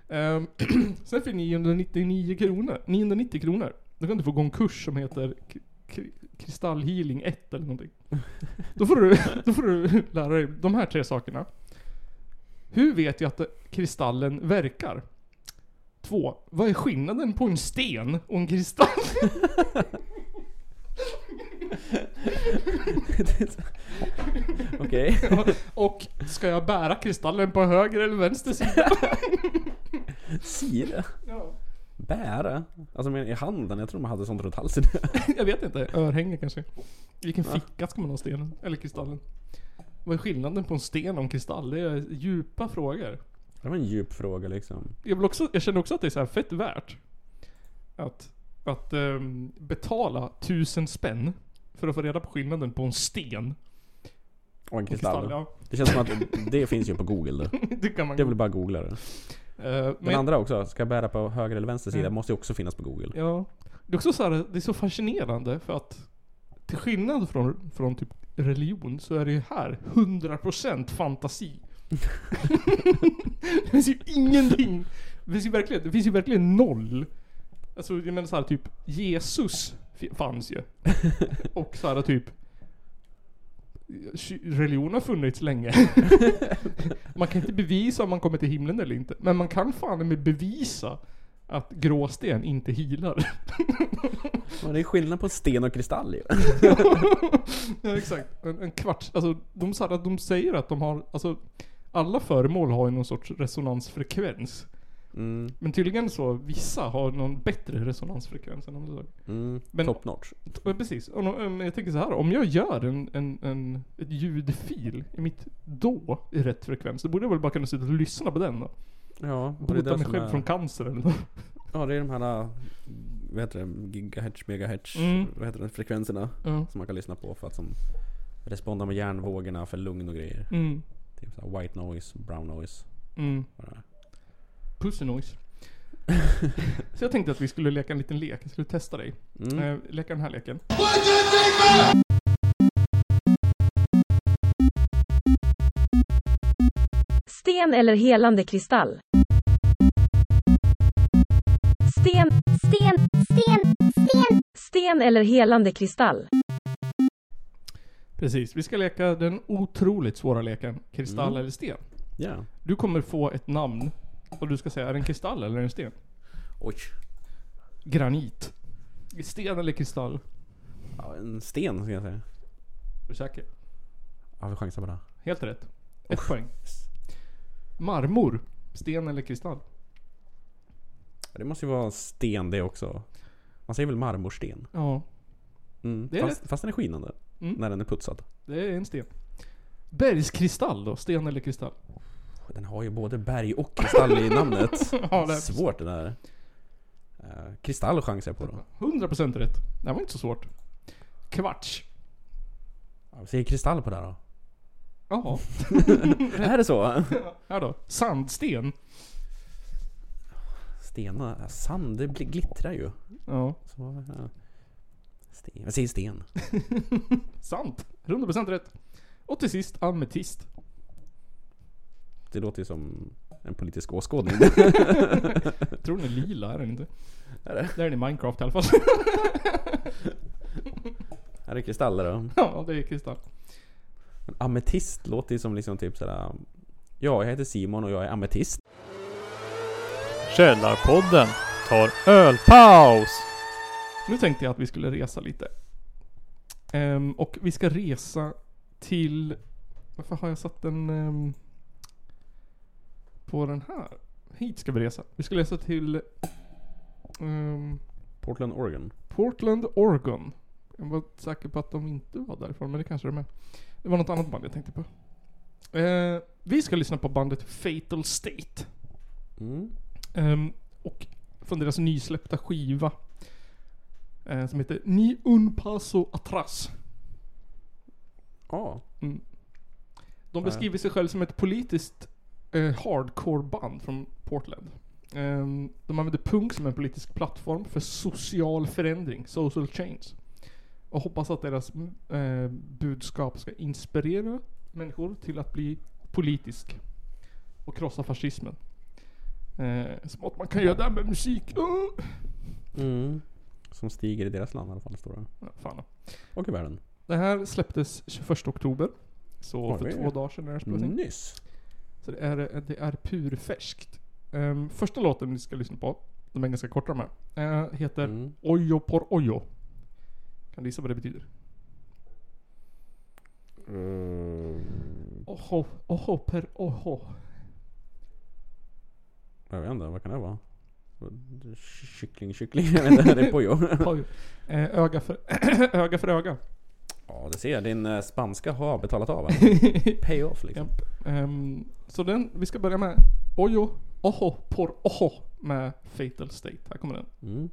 A: Ehm, [CLEARS THROAT] sen för 999 kronor, 990 kronor, då kan du få gå en kurs som heter k- k- kristallhealing 1 eller någonting. Då får, du, då får du lära dig de här tre sakerna. Hur vet jag att kristallen verkar? Två, vad är skillnaden på en sten och en kristall? [LAUGHS]
C: Okej.
A: Och ska jag bära kristallen på höger eller vänster sida?
C: Sida.
A: Ja.
C: bära? Alltså men i handen? Jag tror man hade sånt runt halsen. [LAUGHS]
A: Jag vet inte. Örhänge kanske. I vilken ficka ska man ha stenen? Eller kristallen? Vad är skillnaden på en sten och en kristall? Det är djupa frågor.
C: Det var en djup fråga liksom.
A: Jag, vill också, jag känner också att det är så här fett värt. Att, att ehm, betala tusen spänn för att få reda på skillnaden på en sten
C: Och en
A: och kristall.
C: kristall. Det känns som att det finns ju på google det.
A: Ja, [LAUGHS] det kan man.
C: Det är väl bara att googla det.
A: Eh,
C: Den andra också, ska jag bära på höger eller vänster sida?
A: Mm.
C: Måste ju också finnas på google.
A: Ja. Det är också så här, det är så fascinerande för att till skillnad från, från typ religion så är det ju här 100% fantasi. [LAUGHS] det finns ju ingenting. Det finns ju verkligen, det finns ju verkligen noll. Alltså jag menar så här, typ Jesus fi- fanns ju. Och så här, typ ky- Religion har funnits länge. man kan inte bevisa om man kommer till himlen eller inte. Men man kan fan med bevisa att gråsten inte healar.
C: Men det är skillnad på sten och
A: [LAUGHS]
C: kristall ju.
A: ja exakt. En, en kvarts, alltså de, sa- de säger att de har, alltså alla föremål har ju någon sorts resonansfrekvens.
C: Mm,
A: Men tydligen så, vissa har någon bättre resonansfrekvens än andra saker.
C: mm.
A: Men-
C: Top notch.
A: Ja, Precis. Och nå- men jag tänker så här, om jag gör en, en, en ett ljudfil i mitt då i rätt frekvens, då borde jag väl bara kunna sitta och lyssna på den då.
C: Ja, och det är
A: Bota
C: det
A: mig
C: som
A: själv
C: är...
A: från cancer eller något.
C: [LAUGHS] Ja, det är de här, äh, vad heter det, gigahertz, megahertz,
A: Mm.
C: vad heter det, frekvenserna
A: Ja.
C: som man kan lyssna på för att som responda med hjärnvågorna för lugn och grejer.
A: Mm.
C: Typ så här white noise, brown noise.
A: Mm.
C: vad det är.
A: Pussy
C: [LAUGHS]
A: noise. så jag tänkte att vi skulle leka en liten lek. Jag skulle testa dig.
C: Mm.
A: Eh, leka den här leken.
F: Sten eller helande kristall? Sten,
D: sten, sten, sten,
F: sten eller helande kristall?
A: Precis. Vi ska leka den otroligt svåra leken kristall
C: Mm.
A: eller sten.
C: Ja.
A: Du kommer få ett namn och du ska säga är det en kristall eller en sten?
C: Oj.
A: Granit. Sten eller kristall?
C: Ja, en sten ska jag säga.
A: Är du säker?
C: Ja, vi chansar på det.
A: Helt rätt. Ett poäng. Marmor. Sten eller kristall?
C: Ja, Det måste ju vara sten det också. Man säger väl marmorsten?
A: Ja,
C: Mm.
A: Det är
C: fast, fast den är skinande.
A: Mm.
C: När den är putsad.
A: det är en sten. Bergskristall då? Sten eller kristall?
C: Den har ju både berg och kristall i namnet.
A: [LAUGHS] Ja, det är
C: Svårt det där. Eh, kristall chansar jag på då.
A: 100% rätt. Det här var inte så svårt. Kvarts.
C: Ja, vi säger kristall på det här då.
A: Jaha.
C: Är det så?
A: Här då. Sandsten.
C: Stenar, sand, det bli- glittrar ju.
A: Ja.
C: Så, ja. Sten. Jag säger sten.
A: Sant. 100% rätt. Och till sist ametist.
C: Det låter ju som en politisk åskådning.
A: Tror den är lila, är den inte? Är det? Det är den i Minecraft i alla fall. [LAUGHS]
C: här är kristaller då.
A: ja, det är kristall.
C: Men ametist låter ju som liksom typ sådär... Ja, jag heter Simon och jag är ametist.
G: Källarpodden tar ölpaus!
A: Nu tänkte jag att vi skulle resa lite. Ehm, och vi ska resa till... Varför har jag satt den... ehm, på den här? Hit ska vi resa. Vi ska resa till... ehm,
C: Portland, Oregon.
A: Portland, Oregon. Jag var säker på att de inte var därifrån, men det kanske de är. Det var något annat band jag tänkte på. Eh, vi ska lyssna på bandet Fatal State.
C: Mm.
A: ehm, och från deras nysläppta skiva. eh, som heter Ni Un Paso Atras.
C: Ja.
A: De beskriver sig själva som ett politiskt eh, hardcore-band från Portland. Ehm, de använder punk som en politisk plattform för social förändring, social change. Och hoppas att deras eh, budskap ska inspirera människor till att bli politisk. Och krossa fascismen. Eh, som att man kan göra det här med musik. Uh!
C: Mm. Som stiger i deras land i alla fall, står det.
A: Ja, fan.
C: Och i världen.
A: Det här släpptes 21 oktober. Så
C: Oj. Mm.
A: för två dagar sedan är det spelat in.
C: Nyss.
A: Så det är, det är purfärskt. Ehm, första låten vi ska lyssna på, de är ganska korta de här, eh, heter
C: Mm.
A: Ojo por ojo. Kan du gissa vad det betyder? Oho, oho per oho.
C: Jag vet inte, vad kan det vara? Kyckling, kyckling. [LAUGHS] Jag vet inte, det är pojo.
A: Oj. Eh, öga, för, [CLEARS THROAT] öga för öga.
C: Ja, det ser jag. Din eh, spanska har betalat av. Payoff liksom.
A: Ehm, så den, vi ska börja med Ojo Oho Por Oho med Fatal State. Här kommer den.
C: Mm.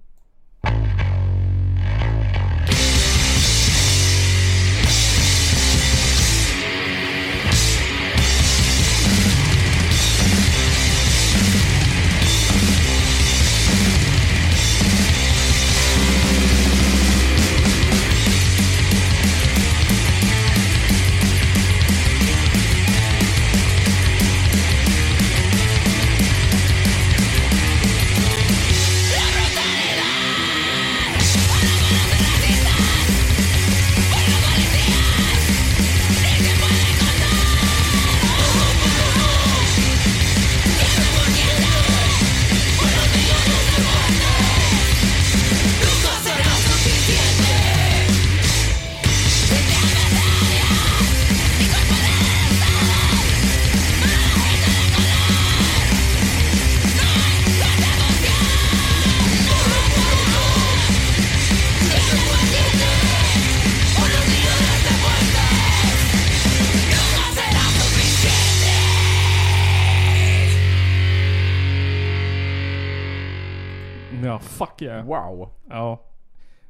C: Mm.
A: Ja, fuck yeah.
C: Wow.
A: Ja.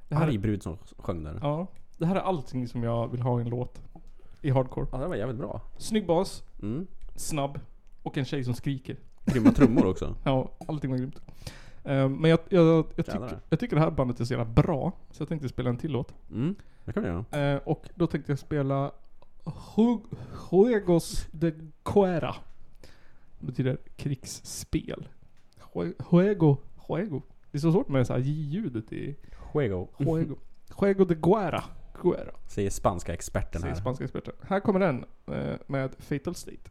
A: Det här,
C: Arg brud som sjöng där. Ja.
A: ja. Det här är allting som jag vill ha i en låt. I hardcore.
C: det var jävligt bra.
A: Snygg bas,
C: Mm.
A: snabb och en tjej som skriker.
C: Grymma trummor också.
A: Ja, allting var grymt. Ehm, men jag, jag, jag,
C: Jävlar.
A: tycker, jag tycker det här bandet är så jävla bra, så jag tänkte spela en till låt.
C: Mm. Det kan vi göra.
A: Eh, och då tänkte jag spela Ju- Juegos de Cuera. Det betyder krigsspel. Jue- Juego, Juego. Det är så svårt med så här j-ljudet i
C: [LAUGHS] Juego.
A: Juego. Juego de Guerra. Guerra,
C: Säger spanska experten
A: säger
C: här.
A: spanska experten. Här kommer den eh, med Fatal State.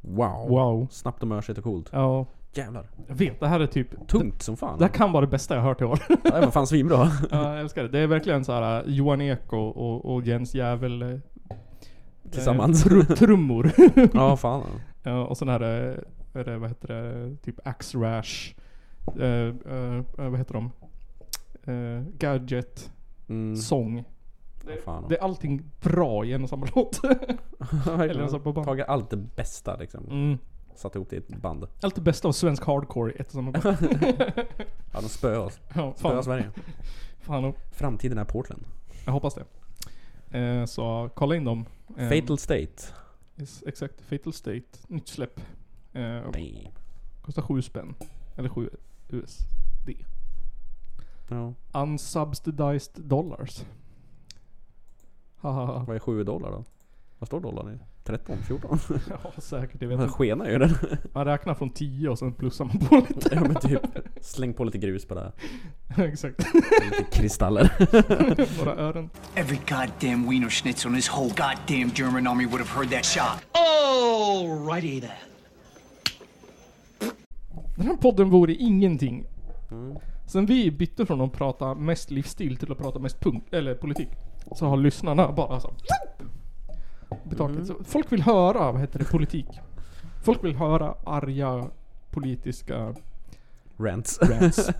C: Wow.
A: Wow.
C: Snabbt och mörsigt och coolt.
A: Ja,
C: Jävlar.
A: jag vet. Det här är typ...
C: Tungt som fan.
A: Det här kan vara det bästa jag har hört i år.
C: Ja, Det var fan svinbra.
A: ja, jag älskar det. Det är verkligen så här eh, Johan Ek och, och, och Jens Jävel eh,
C: Tillsammans.
A: [LAUGHS] trummor.
C: Ja, fan.
A: Ja, och sen är det, eh, är det, vad heter det, typ Axe Rash. Eh, eh, eh, vad heter de? Eh, gadget,
C: Mm.
A: sång.
C: fan. [LAUGHS]
A: Det är allting bra i en och samma [LAUGHS] låt. Eller en samma band.
C: Tagit allt det bästa liksom.
A: Mm.
C: Satt ihop det i ett band.
A: Allt det bästa av svensk hardcore i ett och samma band. [LAUGHS]
C: Ja, de spöade oss.
A: ja,
C: Spöade
A: fan,
C: Sverige.
A: fan. och-
C: Framtiden är Portland.
A: Jag hoppas det. Eh, så kolla in dem. Eh,
C: Fatal State.
A: yes, exakt. Fatal State. Nytt släpp. Eh,
C: Damn.
A: kostar sju spänn. Eller sju US.
C: Ja.
A: Unsubsidized dollars. Haha.
C: Vad är 7 dollar då? Vad står dollarn i? 13? 14?
A: Ja, säkert. Jag vet
C: Den
A: inte.
C: skenar ju den.
A: Man räknar från 10 och sen plussar man på lite.
C: [LAUGHS] Ja men typ. Släng på lite grus på det. här.
A: Exakt.
C: Lite kristaller. [LAUGHS]
A: Några ören.
H: Every goddamn Wiener Schnitzel in this whole goddamn German army would have heard that shot. Alrighty then.
A: Den här podden vore ingenting. Sen vi bytte från att prata mest livsstil till att prata mest punk, eller politik. Så har lyssnarna bara så... Betaket. Så folk vill höra, vad heter det, politik. Folk vill höra arga politiska
C: Rants.
A: Rants.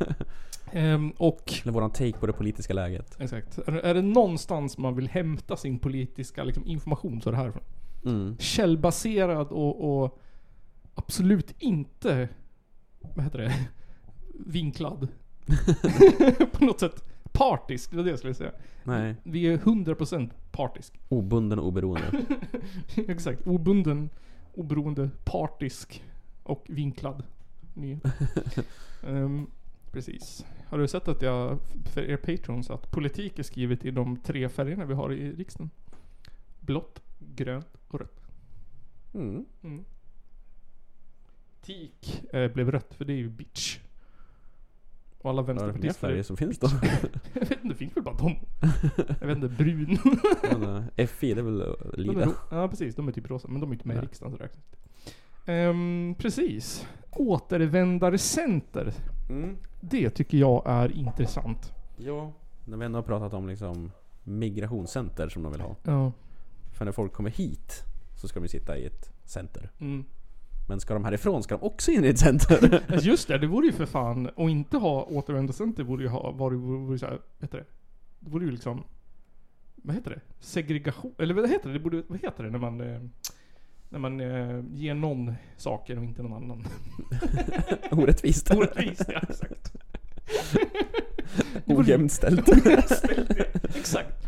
A: Ehm, och,
C: Eller våran take på det politiska läget.
A: exakt. Är, är det någonstans man vill hämta sin politiska liksom, information så är det härifrån.
C: Mm.
A: källbaserad och, och absolut inte, vad heter det, vinklad. [LAUGHS] på något sätt partisk, det var det jag skulle säga.
C: Nej.
A: Vi är 100%
C: [LAUGHS]
A: partisk.
C: Obunden och oberoende.
A: Exakt. Obunden, oberoende, partisk och vinklad. nyhet. Ehm, precis. Har du sett att jag, för er patrons, att politik är skrivet i de tre färgerna vi har i riksdagen? Blått, grönt och rött.
C: Mm.
A: tik eh, blev rött för det är ju bitch. Och alla
C: Vad är det för
A: vänsterpartister...
C: färger som finns då?
A: [LAUGHS] jag vet inte, det finns väl bara dem? Jag vet inte, brun.
C: [LAUGHS] Men, eh, FI, det är väl att
A: De är
C: lida.
A: ro- ja precis, de är typ rosa. Men de är inte med i
C: Nej.
A: riksdagen så det räknas inte. Ehm, precis. Återvändarcenter.
C: Mm.
A: Det tycker jag är intressant.
C: Ja. När vi ändå har pratat om liksom migrationscenter som de vill ha.
A: Ja.
C: För när folk kommer hit så ska de ju sitta i ett center.
A: Mm.
C: Men ska de härifrån ska de också in i ett center. [LAUGHS]
A: Alltså, Just det, det vore ju för fan, och inte ha återvändarcenter vore ju ha, vore, vore, vore så här, vad heter det? Det vore ju liksom, vad heter det? Segregation, eller vad heter det? det borde, vad heter det när man, eh, när man eh, ger någon saker och inte någon annan? [LAUGHS]
C: Orättvist.
A: Orättvist, ja exakt. Det vore ju [LAUGHS]
C: Ojämnt ställt.
A: ojämställt, ja, exakt.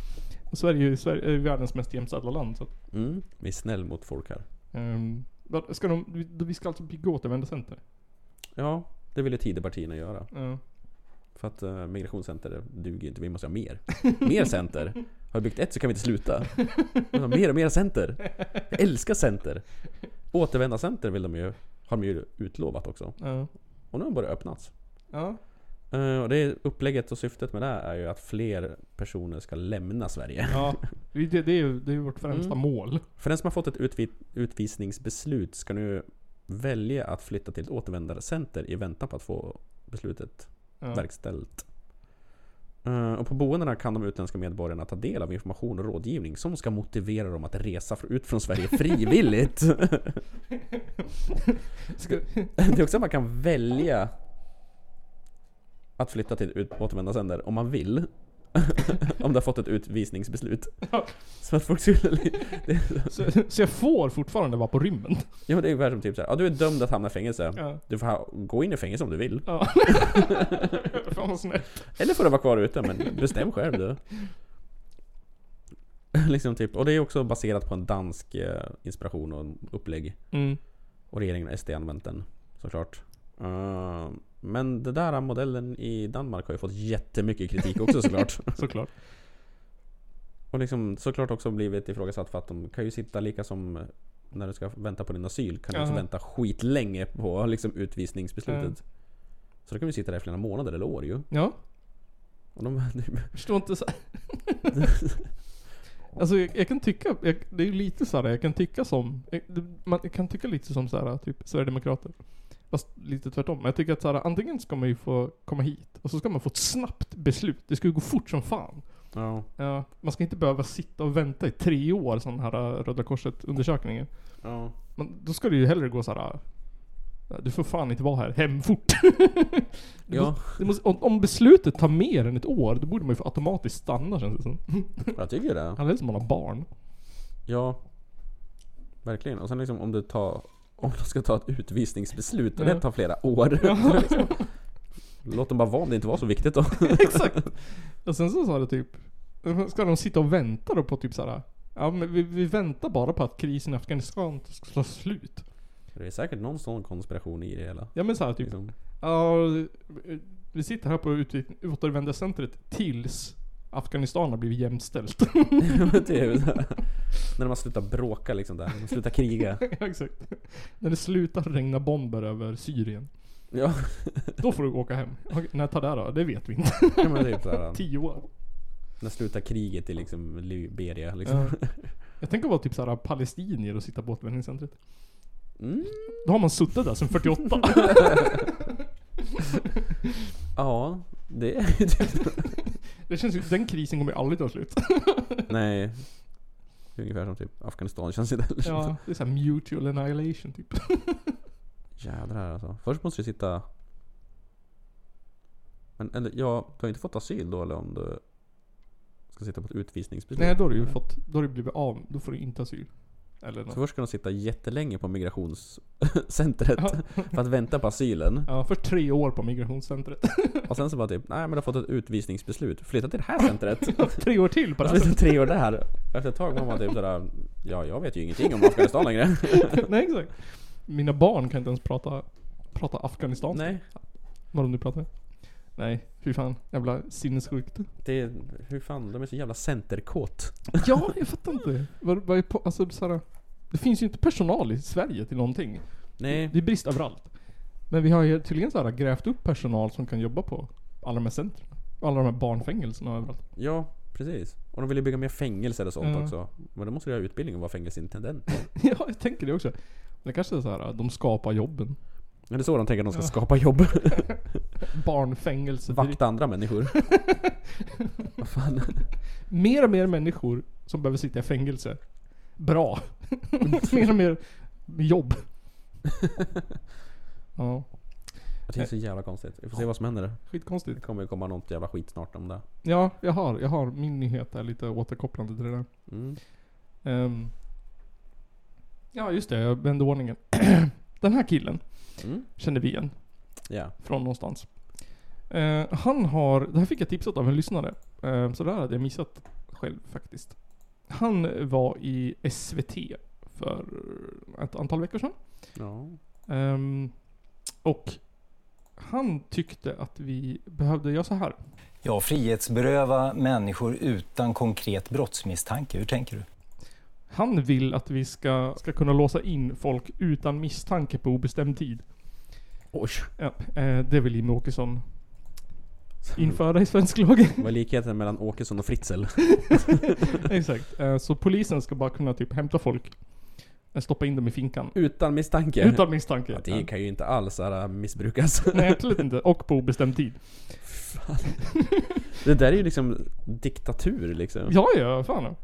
A: Och Sverige, är ju- Sverige är ju världens mest jämställda land så att,
C: Mm. Vi är snäll mot folk här.
A: ehm, vad- ska de, vi- vi ska alltså bygga återvändarcenter?
C: Ja, det ville Tidöpartierna göra.
A: Ja.
C: För att eh, migrationscenter duger ju inte, vi måste ha mer. Mer center! Har vi byggt ett så kan vi inte sluta. Vi har mer och mer center. Jag älskar center! Återvända center vill de ju, har de ju utlovat också.
A: Ja.
C: Och nu har de börjat öppnas.
A: Ja.
C: Eh, och det är upplägget och syftet med det här är ju att fler personer ska lämna Sverige.
A: ja. Det, det, det är ju det är ju vårt främsta
C: Mm.
A: mål.
C: För den som har fått ett utvi- utvisningsbeslut ska nu välja att flytta till ett återvändarcenter i väntan på att få beslutet
A: Ja.
C: verkställt. Eh, Och på boendena kan de utländska medborgarna ta del av information och rådgivning som ska motivera dem att resa fr- ut från Sverige frivilligt.
A: [LAUGHS] Ska,
C: det är också att man kan välja att flytta till ett ut- återvändarcenter om man vill. [LAUGHS] om du har fått ett utvisningsbeslut.
A: Ja.
C: Så att folk skulle... det är-
A: så, så jag får fortfarande vara på rymmen?
C: Ja, men det är ungefär som typ såhär, ja, du är dömd att hamna i fängelse.
A: Ja.
C: Du får ha, gå in i fängelse om du vill.
A: ja. Fan vad snällt.
C: Eller får du vara kvar ute, men bestäm själv du. [LAUGHS] liksom typ. Och det är också baserat på en dansk eh, inspiration och upplägg.
A: Mm.
C: Och regeringen och SD har använt den såklart. Eh, men den där modellen i Danmark har ju fått jättemycket kritik
A: [LAUGHS]
C: också såklart.
A: Såklart.
C: och liksom såklart också blivit ifrågasatt för att de kan ju sitta lika som när du ska vänta på din asyl kan du också
A: Ja. Mm.
C: vänta skitlänge på liksom utvisningsbeslutet. Så då kan du sitta där i flera månader eller år ju.
A: Ja,
C: Och de, [LAUGHS] typ.
A: förstår inte så. [LAUGHS] alltså jag, jag kan tycka, jag, det är ju lite såhär, jag kan tycka som, jag, det- man jag kan tycka lite som såhär, typ Sverigedemokrater. Fast lite tvärtom. Men jag tycker att såhär, antingen ska man ju få komma hit och så ska man få ett snabbt beslut. Det ska ju gå fort som fan.
C: ja.
A: Ja, man ska inte behöva sitta och vänta i tre år, sån här äh, Röda Korset-undersökningen.
C: ja.
A: Men då ska det ju hellre gå så här. äh, Du får fan inte vara här. Hem fort. [LAUGHS] Det
C: Ja.
A: måste, det måste, om, om beslutet tar mer än ett år, då borde man ju få automatiskt stanna känns det som.
C: Jag tycker det.
A: Allra helst om man har barn.
C: Ja. Verkligen. Och sen liksom om du tar... Om de ska ta ett utvisningsbeslut och
A: Ja.
C: det tar flera år. [LAUGHS] Liksom. Låt dem bara vara om det inte var så viktigt då. [LAUGHS]
A: Exakt. Och sen så sa det typ, ska de sitta och vänta då på typ så här. Ja men vi, vi väntar bara på att krisen i Afghanistan ska ta slut.
C: Det är säkert någon sån konspiration i det hela.
A: Ja men så här typ,
C: Liksom. [LAUGHS]
A: ja, vi sitter här på utvi- återvändarcentret tills Afghanistan har blivit jämställt.
C: det är ju så här. Typ. När man slutar bråka liksom där. Man slutar kriga.
A: [LAUGHS] Ja, exakt. När det slutar regna bomber över Syrien.
C: Ja,
A: Då får du åka hem. Okej, När tar det här då? Det vet vi inte.
C: [LAUGHS] ja men typ såhär.
A: Tio år.
C: När slutar kriget i liksom Liberia liksom.
A: Ja. [LAUGHS] Jag tänker vara typ såhär palestinier och sitta på återvändningscentret.
C: Mm.
A: Då har man suttit där sedan [LAUGHS] 48.
C: Ja, det är [LAUGHS] ju typ
A: Det känns ju, den krisen kommer ju aldrig ta slut.
C: Nej. Det är ungefär som typ Afghanistan känns inte heller. som.
A: Ja, det är såhär mutual annihilation typ.
C: Jädrar alltså. Först måste du sitta Men eller, ja, du har inte fått asyl då eller om du ska sitta på ett utvisningsbeslut?
A: [LAUGHS] Nej, då har du ju fått, då har du blivit av, då får du inte asyl. Eller
C: Så
A: något.
C: först ska de sitta jättelänge på migrationscentret [LAUGHS] för att vänta på asylen.
A: Ja, först tre år på migrationscentret. [LAUGHS]
C: Och sen så bara typ, nej men du har fått ett utvisningsbeslut. Flytta till det här centret.
A: tre år till på [LAUGHS] det här
C: Flytta tre år där. Och [LAUGHS] efter ett tag var man typ sådär, ja jag vet ju ingenting om
A: [LAUGHS]
C: Afghanistan längre.
A: sättet. Nej, exakt. Mina barn kan inte ens prata, prata Afghanistan.
C: nej,
A: Vad de nu pratar med. Nej, fy fan. Jävla sinnessjukt.
C: det är, hur fan, de är så jävla centerkåt.
A: Ja, jag fattar inte. Vad, vad är på, alltså, så här, det finns ju inte personal i Sverige till någonting.
C: Nej,
A: Det är brist överallt. Men vi har ju tydligen så här, grävt upp personal som kan jobba på alla de här centren. Alla de här barnfängelserna överallt. [LAUGHS]
C: ja precis. Och de vill ju bygga mer fängelser och sånt
A: Ja.
C: också. Men då måste du ha utbildning och vara fängelseintendent.
A: Ja, jag tänker det också. Det kanske är så här, de skapar jobben.
C: Är det så de tänker att de ska
A: [LAUGHS]
C: skapa jobb? [LAUGHS]
A: Barnfängelse. direkt.
C: Vakta
A: [LAUGHS]
C: andra människor. Vad fan.
A: Mer och mer människor som behöver sitta i fängelse. Bra. [LAUGHS] mer och mer
C: [LAUGHS]
A: jobb. ja,
C: Jag tycker det är så jävla konstigt. Vi får se vad som händer.
A: skitkonstigt.
C: Det kommer ju komma något jävla skit snart om det.
A: Ja, jag har, jag har min nyhet är lite återkopplande till det där.
C: Mm.
A: Ehm, ja, just det. Jag vände ordningen. [CLEARS THROAT] Den här killen
C: Mm.
A: kände vi igen
C: Ja.
A: från någonstans. Eh, han har, det här fick jag tipsat av en lyssnare. Eh, så det här hade jag missat själv faktiskt. Han var i SVT för ett antal veckor sedan.
C: ja.
A: Ehm, och han tyckte att vi behövde göra så här.
I: Ja, frihetsberöva människor utan konkret brottsmisstanke. Hur tänker du?
A: Han vill att vi ska, ska kunna låsa in folk utan misstanke på obestämd tid.
C: Oj.
A: Ja, eh, det vill Jimmie Åkesson införa i svensk
C: [LAUGHS]
A: lag.
C: Vad är likheten mellan Åkesson och Fritzl? [LAUGHS]
A: Exakt. Eh, så polisen ska bara kunna typ hämta folk, eh, stoppa in dem i finkan.
C: Utan misstanke?
A: Utan misstanke.
C: Ja, det kan ju inte alls här, missbrukas.
A: Nej, absolut inte. Och på obestämd tid.
C: Det där är ju liksom diktatur liksom.
A: Ja, ja, fan. ja.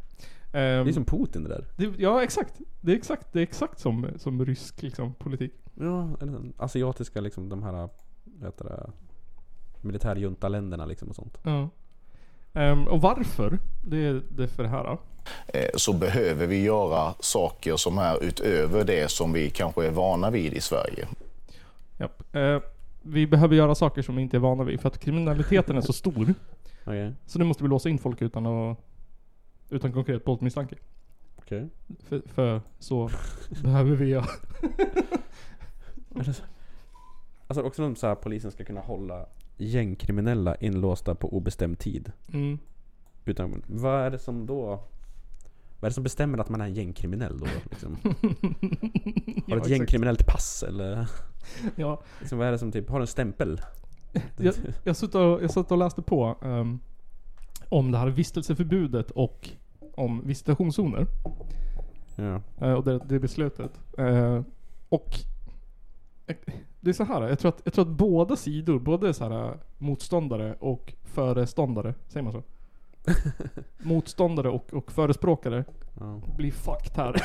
A: Ehm,
C: Det är som Putin det där.
A: det, ja, exakt. Det är exakt, det är exakt som, som rysk liksom, politik.
C: Ja, eller den asiatiska liksom de här, vad heter det, militärjuntaländerna liksom och sånt.
A: Ja. Ehm, och varför? Det är det är för det här. då.
J: eh, så behöver vi göra saker som är utöver det som vi kanske är vana vid i Sverige.
A: Japp. Eh, vi behöver göra saker som vi inte är vana vid för att kriminaliteten är så stor.
C: Okej.
A: Så nu måste vi låsa in folk utan att... Utan konkret brottsmisstanke.
C: Okej.
A: För, för så behöver vi göra.
C: Alltså också om så här, polisen ska kunna hålla gängkriminella inlåsta på obestämd tid.
A: Mm.
C: Utan, vad är det som då... Vad är det som bestämmer att man är en gängkriminell då?
A: [LAUGHS]
C: Liksom? Har du ett
A: exakt.
C: gängkriminellt pass eller?
A: Ja,
C: Liksom, vad är det som typ, har du en stämpel?
A: jag, jag, satt och, jag satt och läste på ehm, om det här vistelseförbudet och om visitationszoner.
C: Ja.
A: Eh, och det, det beslutet. Eh, och eh, det är så här. Jag tror att, jag tror att båda sidor, både så här, eh, motståndare och föreståndare, säger man så? motståndare och, och förespråkare
C: Ja.
A: blir fucked här. [LAUGHS]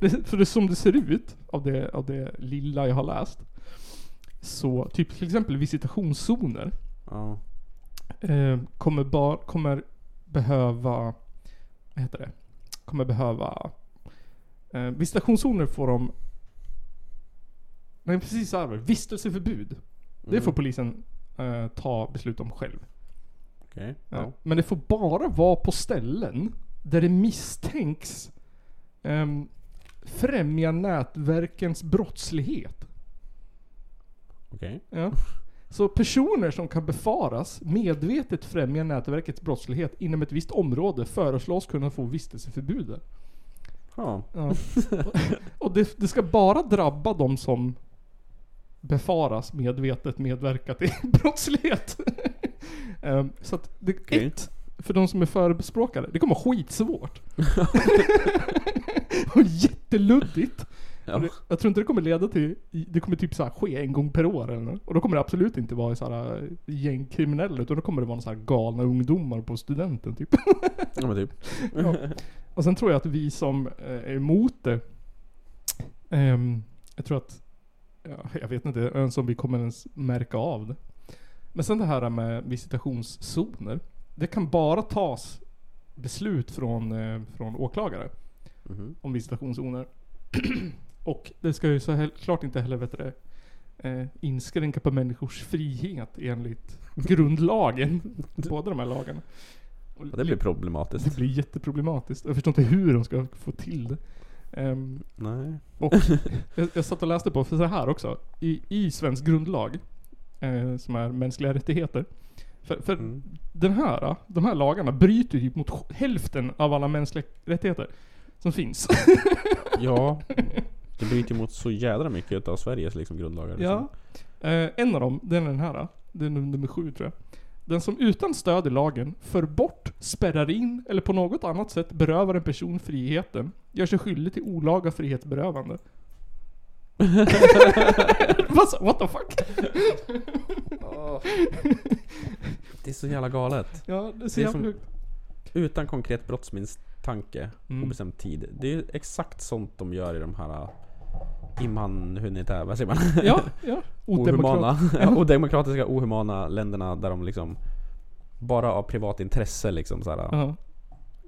A: det, för det, som det ser ut av det, av det lilla jag har läst. Så typ till exempel visitationszoner
C: ja.
A: eh, kommer, bar, kommer behöva... Vad heter det? Kommer behöva... Eh, visitationszoner får de... Nej precis så här var det. Vistelseförbud. Det får polisen eh, ta beslut om själv.
C: Okej.
A: Ja.
C: Ja.
A: Men det får bara vara på ställen där det misstänks ehm, främja nätverkens brottslighet.
C: Okej.
A: Ja. Så personer som kan befaras medvetet främja nätverkets brottslighet inom ett visst område föreslås kunna få vistelseförbud där.
C: Ja.
A: Ja. [LAUGHS] Och det, det ska bara drabba de som befaras medvetet medverka till [LAUGHS] brottslighet. [LAUGHS] Ehm, Så att det,
C: Okej.
A: ett, för de som är förespråkare, det kommer vara skitsvårt. [LAUGHS] Och jätteluddigt.
C: Ja.
A: Det- Jag tror inte det kommer leda till, det kommer typ så här ske en gång per år eller något. Och då kommer det absolut inte vara så här gängkriminella utan då kommer det vara någon så här galna ungdomar på studenten typ. [LAUGHS]
C: ja men typ.
A: Och sen tror jag att vi som eh, är emot det, ehm, jag tror att, ja, jag vet inte ens om vi kommer ens märka av det. Men sen det här med visitationszoner. Det kan bara tas beslut från, eh, från åklagare
C: Mhm.
A: om visitationszoner. [CLEARS THROAT] Och det ska ju så hel- klart inte heller vet du, det, eh, inskränka på människors frihet enligt
C: [LAUGHS]
A: grundlagen. Båda de här lagarna. Och
C: Ja, det blir problematiskt.
A: det blir jätteproblematiskt. Jag förstår inte hur de ska få till det. Ehm,
C: [LAUGHS] Nej.
A: jag, jag satt och läste på, för så här också. I, i svensk grundlag, eh, som är mänskliga rättigheter. För, för
C: Mm.
A: den här, eh, de här lagarna bryter ju mot sj- hälften av alla mänskliga rättigheter som finns. [LAUGHS]
C: Ja. Det bryter mot så jädra mycket av Sveriges liksom, grundlagar.
A: Ja.
C: Liksom.
A: Eh, en av dem, den är den här. Den är nummer sju tror jag. Den som utan stöd i lagen för bort, spärrar in eller på något annat sätt berövar en person friheten gör sig skyldig till olaga frihetsberövande. [LAUGHS] Vad sa- What the fuck?
C: Det är så jävla galet.
A: Ja, det ser
C: Det är
A: jävligt
C: som,
A: ut.
C: utan konkret brottsmisstanke och
A: Mm.
C: bestämd tid. Det är ju exakt sånt de gör i de här immanhunitära,
A: [LAUGHS]
C: vad säger man?
A: Ja,
C: [LAUGHS]
A: ja.
C: Ohumana,
A: [LAUGHS]
C: ja, odemokratiska, ohumana länderna där de liksom bara av privat intresse liksom så här.
A: Ja.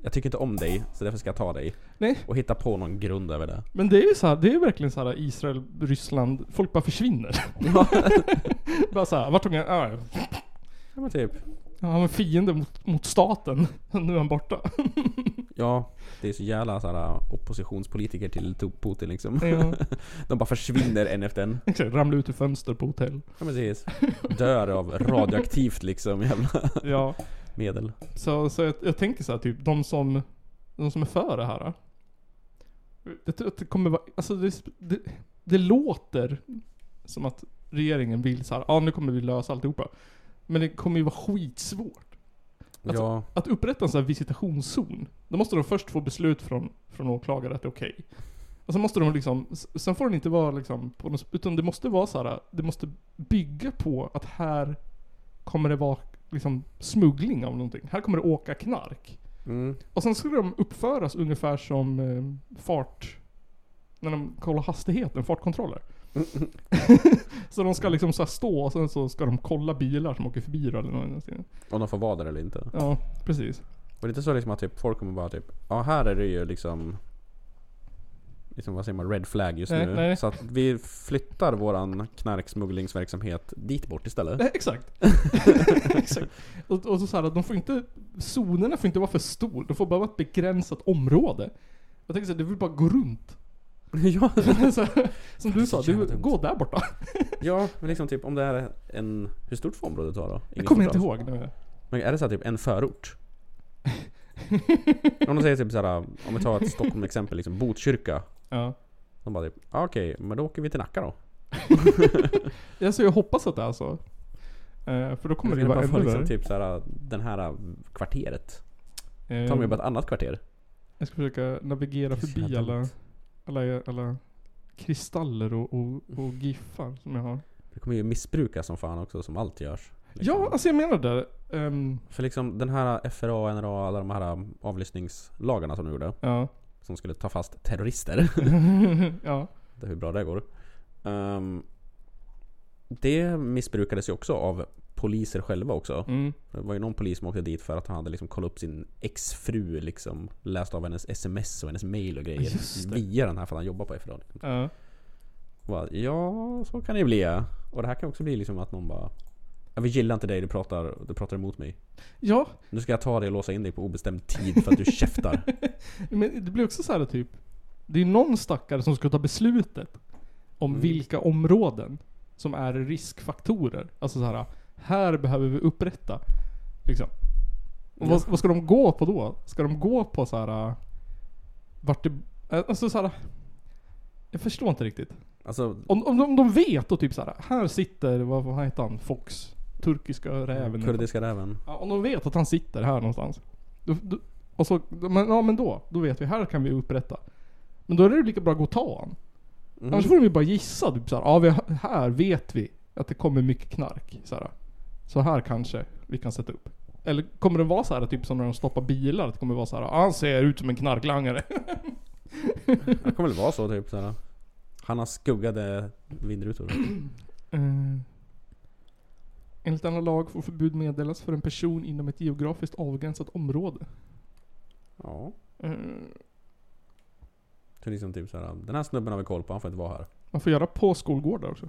C: Jag tycker inte om dig, så därför ska jag ta dig.
A: Nej.
C: Och hitta på någon grund över det.
A: Men det är ju så här, det är ju verkligen så här Israel, Ryssland, folk bara försvinner. [LAUGHS] bara så här, vart tog han? Ja,
C: Ja men typ.
A: ja, han var fiende mot, mot staten. [LAUGHS] Nu är han borta.
C: Ja, det är så jävla så här, äh, oppositionspolitiker till
A: [LAUGHS]
C: Putin liksom.
A: Ja.
C: De bara försvinner en efter en.
A: [LAUGHS] Exakt, ramlade ut ur fönster på hotell.
C: Ja, precis. Dör av radioaktivt liksom jävla
A: Ja,
C: medel.
A: så, så jag, jag tänker så här, typ de som, de som är för det här. Jag tror att det kommer vara, alltså det, det, det låter som att regeringen vill så här, ja ah, nu kommer vi lösa alltihopa. Men det kommer ju vara skitsvårt. Alltså-
C: Ja,
A: Att upprätta en sån här visitationszon, då måste de först få beslut från, från åklagare att det är okej. Och sen måste de liksom, s- sen får den inte vara liksom, på något, utan det måste vara så här, det måste bygga på att här kommer det vara liksom smuggling av någonting. Här kommer det åka knark.
C: mm,
A: Och sen ska de uppföras ungefär som eh, fart, när de kollar hastigheten, fartkontroller. [LAUGHS] så de ska liksom så här stå och sen så ska de kolla bilar som åker förbi då eller någonting.
C: om de får vara där eller inte.
A: Ja, precis.
C: Och det är inte så liksom att typ, folk kommer bara typ Ja här är det ju liksom Liksom vad säger man? Red flag just
A: Nej,
C: nu.
A: nej.
C: Så att vi flyttar våran knarksmugglingsverksamhet dit
A: [LAUGHS]
C: bort istället.
A: Nej, Eh, exakt. exakt. Och, och så, så här, att de får inte, zonerna får inte vara för stor. De får bara vara ett begränsat område. Jag tänker så här, det vill bara gå runt. [LAUGHS]
C: ja.
A: så, här, som du sa,
C: jävla
A: du,
C: dumt.
A: gå där borta.
C: ja, men liksom typ om det är en... Hur stort får området vara då?
A: Jag
C: Ingen
A: kommer
C: som
A: inte
C: dras.
A: ihåg nu.
C: Men är det så här typ en förort? om de säger typ såhär, om vi tar ett Stockholm-exempel, liksom Botkyrka.
A: Ja.
C: De bara typ, ah, okej, men då åker vi till Nacka då.
A: Alltså, jag hoppas att det är så. Eh, för då kommer det ju
C: Eller
A: vara
C: bara
A: ännu
C: få liksom
A: värre.
C: typ såhär, den här kvarteret.
A: Eh,
C: Tar de ju typ bara ett annat kvarter.
A: jag ska försöka navigera
C: Det är så
A: förbi
C: jävla
A: alla,
C: dumt.
A: alla, alla kristaller och, och, och giffar som jag har.
C: Det kommer ju missbrukas som fan också, som allt görs. liksom.
A: Ja, alltså jag menar det. Ehm,
C: För liksom den här FRA, NRA, alla de här äh, avlyssningslagarna som de gjorde.
A: ja. [LAUGHS]
C: Som skulle ta fast terrorister.
A: ja.
C: det är hur bra det går. Ehm, det missbrukades ju också av poliser själva också.
A: Mm.
C: Det var ju någon polis som åkte dit för att han hade liksom kollat upp sin exfru liksom. Läst av hennes sms och hennes mail och grejer.
A: Just det.
C: Via den här för att han jobbar på FRA.
A: Ja.
C: Bara, ja, så kan det ju bli ja. Och det här kan också bli liksom att någon bara "Ja, vi gillar inte dig, du pratar, du pratar emot mig.
A: ja,
C: Nu ska jag ta dig och låsa in dig på obestämd tid för att du
A: [LAUGHS]
C: käftar.
A: Men det blir också så här typ. Det är någon stackare som ska ta beslutet om
C: Mm.
A: vilka områden som är riskfaktorer. Alltså så här, här behöver vi upprätta. Liksom. Och vad, vad ska de gå på då? Ska de gå på så här vart det... Alltså så här. Jag förstår inte riktigt.
C: Alltså,
A: Om, om, de, om de vet och typ så här, här sitter, vad, vad heter han, Fox? Turkiska räven.
C: kurdiska räven.
A: Ja, om de vet att han sitter här någonstans. Då, då, och så, men, ja men då, då vet vi, här kan vi upprätta. Men då är det lika bra att gå och ta han.
C: Mm.
A: Annars får de ju bara gissa. Typ såhär, ja vi, här vet vi att det kommer mycket knark. Såhär. Så här kanske vi kan sätta upp. Eller kommer det vara så här typ som när de stoppar bilar? Att det kommer vara så här, "Ah, han ser ut som en knarklangare. [LAUGHS]
C: Det kommer väl vara så typ. Såhär. Han har skuggade vindrutor.
A: Eh, Enligt denna lag får förbud meddelas för en person inom ett geografiskt avgränsat område.
C: Ja.
A: Eh,
C: Så liksom typ såhär, den här snubben har vi koll på, han får inte vara här.
A: Man får göra på skolgårdar också.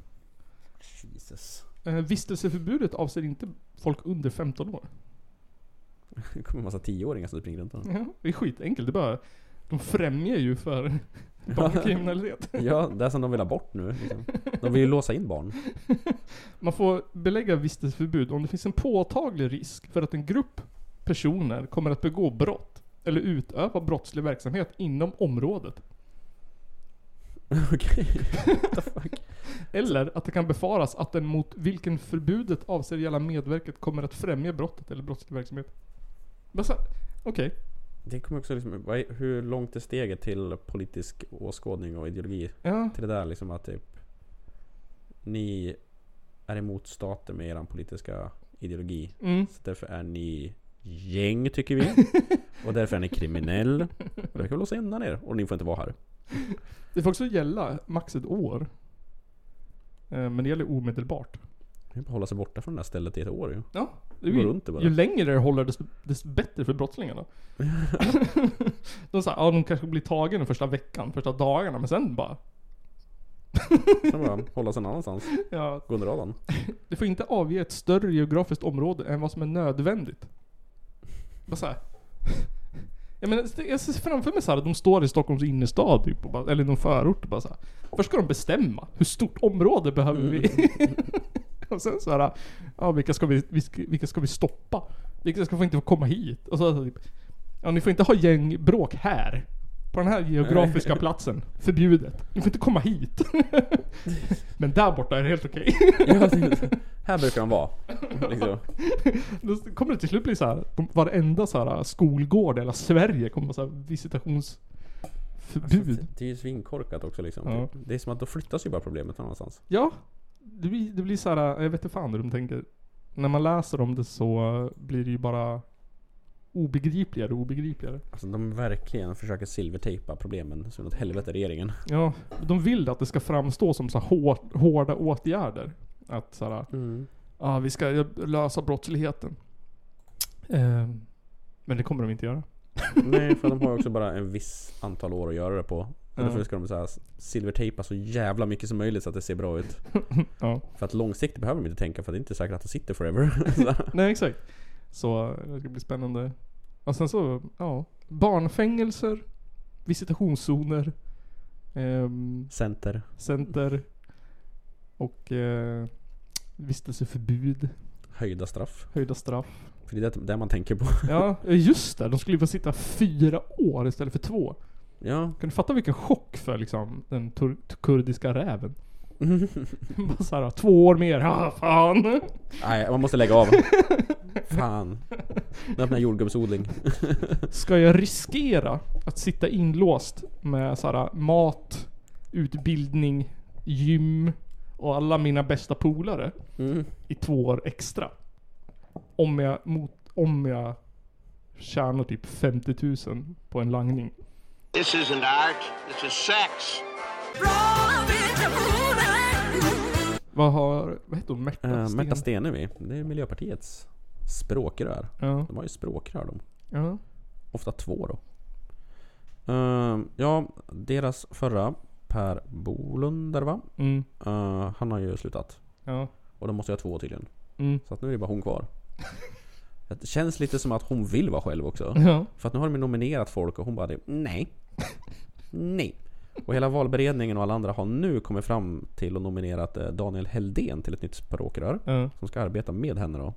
C: Jesus.
A: Eh, Vistelseförbudet avser inte folk under 15 år.
C: Det kommer en massa tioåringar som
A: [LAUGHS]
C: springer runt här.
A: Ja, det är skitenkelt. Det är bara, de främjar ju för barnkriminalitet.
C: Ja, det är som de vill ha bort nu. Liksom. De vill ju låsa in barn. [LAUGHS]
A: Man får belägga vistelseförbud om det finns en påtaglig risk för att en grupp personer kommer att begå brott eller utöva brottslig verksamhet inom området.
C: Okej.
A: Eller att det kan befaras att den mot vilken förbudet avser gälla medverket kommer att främja brottet eller brottslig verksamhet. Vad sa- Okej.
C: Det kommer också liksom, vad är, hur långt är steget till politisk åskådning och ideologi?
A: Ja.
C: Till det där liksom att typ Ni är emot staten med eran politiska ideologi.
A: Mm.
C: Så därför är ni gäng tycker vi. Och därför är ni kriminell. Och därför kan vi låsa in er. Och ni får inte vara här.
A: Det får också gälla max ett år. Eh, Men det gäller omedelbart.
C: Ni får hålla sig borta från det där stället i ett år ju.
A: Ja, det är
C: Går
A: ju,
C: runt det bara.
A: ju längre det håller desto, desto bättre för
C: [LAUGHS]
A: brottslingarna. [LAUGHS] de sa, ja de kanske blir tagen den första veckan, första dagarna, men sen bara...
C: Sen bara hålla sig någon annanstans.
A: Ja,
C: Gå under radarn.
A: det får inte avge ett större geografiskt område än vad som är nödvändigt. Bara såhär. [LAUGHS] Jag menar, det- jag ser framför mig såhär, de står i Stockholms innerstad typ, och bara, eller någon förort och bara såhär. Först ska de bestämma, hur stort område behöver vi? [LAUGHS] och sen såhär, ja vilka ska vi, vi ska- vilka ska vi stoppa? Vilka ska få inte få komma hit? Och så, så typ, ja ni får inte ha gängbråk här. På den här geografiska platsen. Förbjudet. Ni får inte komma hit. [LAUGHS] Men där borta är det helt okej.
C: [LAUGHS] Ja, här brukar de vara. Liksom.
A: Då kommer det till slut bli så här. de- varenda så här äh, skolgård i hela Sverige kommer vara så här visitationsförbud.
C: Alltså, Det är ju svinkorkat också liksom.
A: Ja.
C: Typ. Det är som att då flyttas ju bara problemet någon annanstans.
A: Ja, det blir, det blir så här. äh, jag vet inte fan hur de tänker. När man läser om det så blir det ju bara obegripligare och obegripligare.
C: Alltså de verkligen försöker silvertejpa problemen så inåt helvete regeringen.
A: Ja, de vill att det ska framstå som så här hår, hårda åtgärder. Att så här,
C: Mm.
A: ja vi ska lösa brottsligheten. Ehm, men det kommer de inte göra.
C: Nej för de har ju också bara en viss antal år att göra det på. Så
A: Ja.
C: Därför ska de så här silvertejpa så jävla mycket som möjligt så att det ser bra ut.
A: Ja.
C: För att långsiktigt behöver de inte tänka för det är inte säkert att det sitter forever. [LAUGHS] Så här.
A: [LAUGHS] Nej exakt. Så eh, det ska bli spännande. Och sen så, ja. Barnfängelser, visitationszoner, ehm,
C: Center.
A: center och eh, vistelseförbud,
C: Höjda straff.
A: höjda straff.
C: För det är det- det man tänker på.
A: Ja, eh, just det. De skulle ju få sitta fyra år istället för två.
C: Ja.
A: Kan du fatta vilken chock för liksom den tur- kurdiska räven? Bara såhär, två år mer, [LAUGHS] ah fan.
C: Nej man måste lägga av. Fan. Nu öppnar jag jordgubbsodling.
A: Ska jag riskera att sitta inlåst med såhär, mat, utbildning, gym och alla mina bästa polare
C: Mm.
A: i två år extra? Om jag, mot, om jag tjänar typ 50 000 på en langning.
H: This isn't art, this is sex.
A: Vad har, vad heter hon? Märta
C: Uh,
A: Sten?
C: Märta Stenevi, det är Miljöpartiets språkrör.
A: Ja.
C: De har ju språkrör de.
A: ja.
C: Ofta två då. Eh, ja, deras förra Per Bolund där va?
A: Mm.
C: Eh, han har ju slutat.
A: Ja.
C: Och de måste ju ha två tydligen.
A: Mm.
C: Så att nu är det bara
A: [LAUGHS]
C: hon kvar. Det känns lite som att hon vill vara själv också.
A: Ja.
C: För att nu har de ju nominerat folk och hon bara det, nej. nej. Och hela valberedningen och alla andra har nu kommit fram till och nominerat eh, Daniel Heldén till ett nytt språkrör.
A: Ja.
C: som ska arbeta med henne då.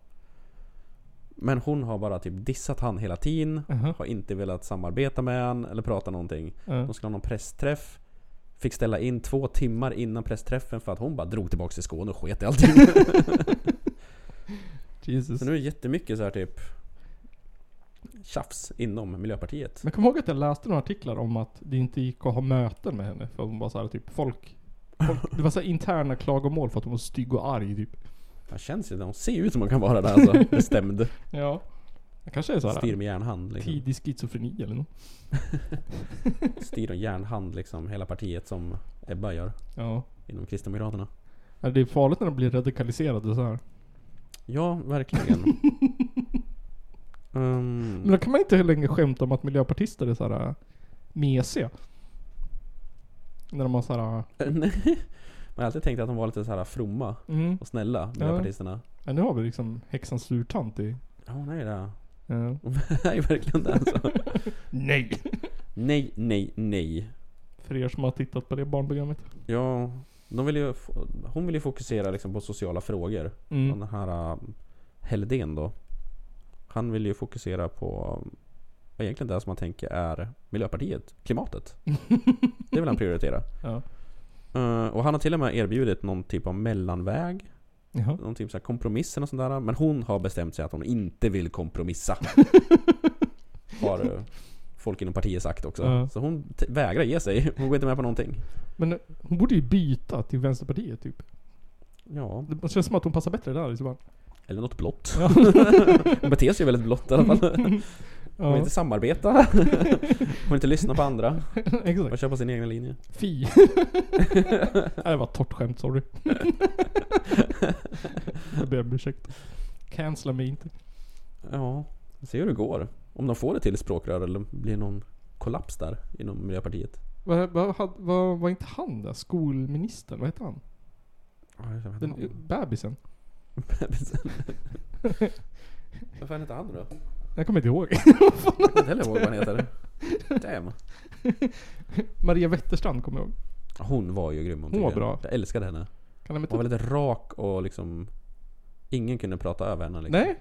C: Men hon har bara typ dissat han hela tiden.
A: Aha.
C: Har inte velat samarbeta med han eller prata någonting.
A: Ja.
C: De skulle ha någon pressträff. Fick ställa in två timmar innan pressträffen för att hon bara drog tillbaks till Skåne och sket i allting.
A: Jesus.
C: så nu är det jättemycket så här typ tjafs inom Miljöpartiet.
A: Men jag kommer ihåg att jag läste några artiklar om att det inte gick att ha möten med henne för hon var såhär typ folk, folk Det var såhär interna klagomål för att hon var stygg och arg typ.
C: Man känns ju det. Hon ser ju ut som man kan vara där alltså. Bestämd.
A: Ja. Jag kanske är
C: Styr
A: såhär
C: med järnhand liksom.
A: tidig schizofreni eller något.
C: Styr med järnhand liksom hela partiet som Ebba gör.
A: Ja.
C: Inom Kristdemokraterna. Mm.
A: Ja, Det är farligt när de blir radikaliserade så här.
C: Ja, verkligen. Ehm, [LAUGHS]
A: Men då kan man inte hur länge skämta om att miljöpartister är såhär mesiga. När de har äh, såhär,
C: nej. Man har alltid tänkt att de var lite så här fromma
A: mm,
C: och snälla, miljöpartisterna.
A: ja, nu har vi liksom häxans surtant i. äh,
C: Ja, hon är ju [LAUGHS] det.
A: Ja.
C: Hon är verkligen det alltså.
A: Nej!
C: Nej, nej, nej.
A: För er som har tittat på det barnprogrammet.
C: Ja, de vill ju, f- hon vill ju fokusera liksom på sociala frågor.
A: Mm.
C: Den här äh, Helldén då. Han vill ju fokusera på um, egentligen det som man tänker är Miljöpartiet,
A: [LAUGHS]
C: klimatet. Det vill han prioritera.
A: Ja.
C: Eh, och han har till och med erbjudit någon typ av mellanväg.
A: Jaha.
C: Någon typ av kompromissen och sånt där. Men hon har bestämt sig att hon inte
A: [LAUGHS]
C: vill kompromissa. har eh, folk inom partiet sagt också.
A: Ja.
C: Så hon t- vägrar ge sig. Hon går inte med på någonting.
A: Men eh, hon borde ju byta till Vänsterpartiet typ.
C: Ja,
A: Det känns som att hon passar bättre där liksom. i så fall.
C: eller något blått.
A: Ja.
C: [LAUGHS] Hon beter sig väldigt blått i alla fall.
A: [LAUGHS]
C: Hon vill
A: Ja,
C: inte samarbeta.
A: [LAUGHS]
C: Hon vill inte lyssna på andra.
A: exakt.
C: Hon kör på sin egna linje.
A: [LAUGHS] Fi. Nej, det var ett torrt skämt, sorry. jag ber om ursäkt. Cancella mig inte.
C: Ja, vi ser hur det går. Om de får det till språkrör eller blir någon kollaps där inom Miljöpartiet.
A: Vad vad had- vad- var inte han där? Skolministern? Vad hette han?
C: Ja, jag vet
A: Den
C: inte.
A: bebisen? [LAUGHS]
C: Vad fan heter han då?
A: Jag kommer inte ihåg. [LAUGHS]
C: Jag kommer inte heller ihåg vad han heter. Damn.
A: Maria Wetterstrand kommer jag ihåg.
C: Hon var ju grym hon
A: Hon var
C: tycker jag.
A: bra.
C: Jag älskade henne.
A: Kan jag
C: Hon var
A: inte...
C: väldigt rak och liksom... Ingen kunde prata över henne liksom.
A: Nej?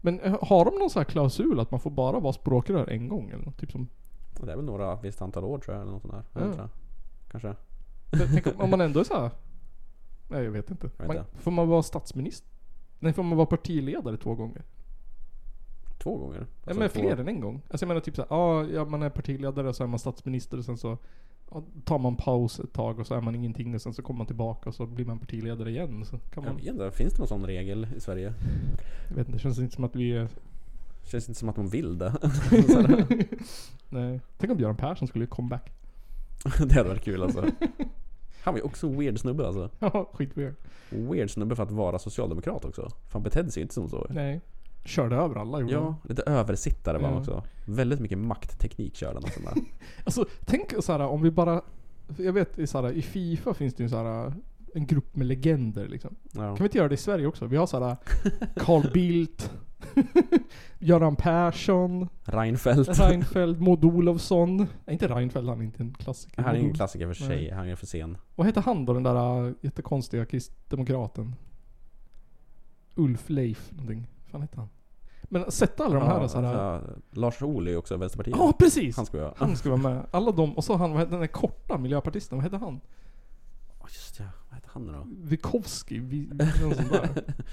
A: Men eh, har de någon sån här klausul att man får bara vara språkrör en gång eller något? Typ som...
C: Det är väl några visst antal år tror jag eller något sånt där. Jag
A: Ja.
C: tror jag. Kanske.
A: Tänk om, om man ändå är så här. Nej jag vet inte.
C: vet
A: Man,
C: inte.
A: får man vara statsminister? Nej får man vara partiledare två gånger?
C: Två gånger?
A: Ja
C: Alltså
A: men
C: två-
A: fler än en gång. Alltså jag menar typ såhär, ah, ja man är partiledare och så är man statsminister och sen så ja, tar man paus ett tag och så är man ingenting och sen så kommer man tillbaka och så blir man partiledare igen. Så kan
C: Jag
A: man,
C: vet inte, finns det någon sån regel i Sverige?
A: jag vet inte, det känns inte som att vi
C: [LAUGHS]
A: är... [LAUGHS]
C: Känns inte som att de vill det. [LAUGHS]
A: Nej. Tänk om Göran Persson skulle göra comeback. [LAUGHS]
C: det hade varit kul alltså. Han var ju också en weird snubbe alltså.
A: Ja, skitweird.
C: Weird snubbe för att vara socialdemokrat också. För han betedde sig inte som så.
A: Nej. Körde över alla gjorde han.
C: Ja, lite översittare var han
A: Ja.
C: också. Väldigt mycket maktteknik körde han och sånt där.
A: [LAUGHS] Alltså tänk såhär om vi bara... Jag vet i, såhär, i Fifa finns det ju såhär, en grupp med legender liksom.
C: Ja.
A: Kan vi inte göra det i Sverige också? Vi har såhär Carl Bildt, [LAUGHS] Göran Persson, [LAUGHS]
C: Reinfeldt.
A: Reinfeldt, Maud Olofsson. Nej, inte Reinfeldt, han är inte en klassiker.
C: [LAUGHS] Han är ingen
A: Maud Ol-
C: klassiker för sig, han är för sen.
A: Vad heter han då, den där äh, jättekonstiga kristdemokraten? Ulf Leif någonting. Vad fan heter han? Men sätta alla de här
C: Ja,
A: ja, såhär... Ja,
C: så- Lars Ohly är också Vänsterpartiet.
A: precis!
C: Han ska jag.
A: Han ska vara med. Alla de, och så han, vad heter den där korta miljöpartisten, vad hette han?
C: Oh, just ja, vad heter han nu då?
A: Wikowski? Vi, någon sån där.
C: [LAUGHS]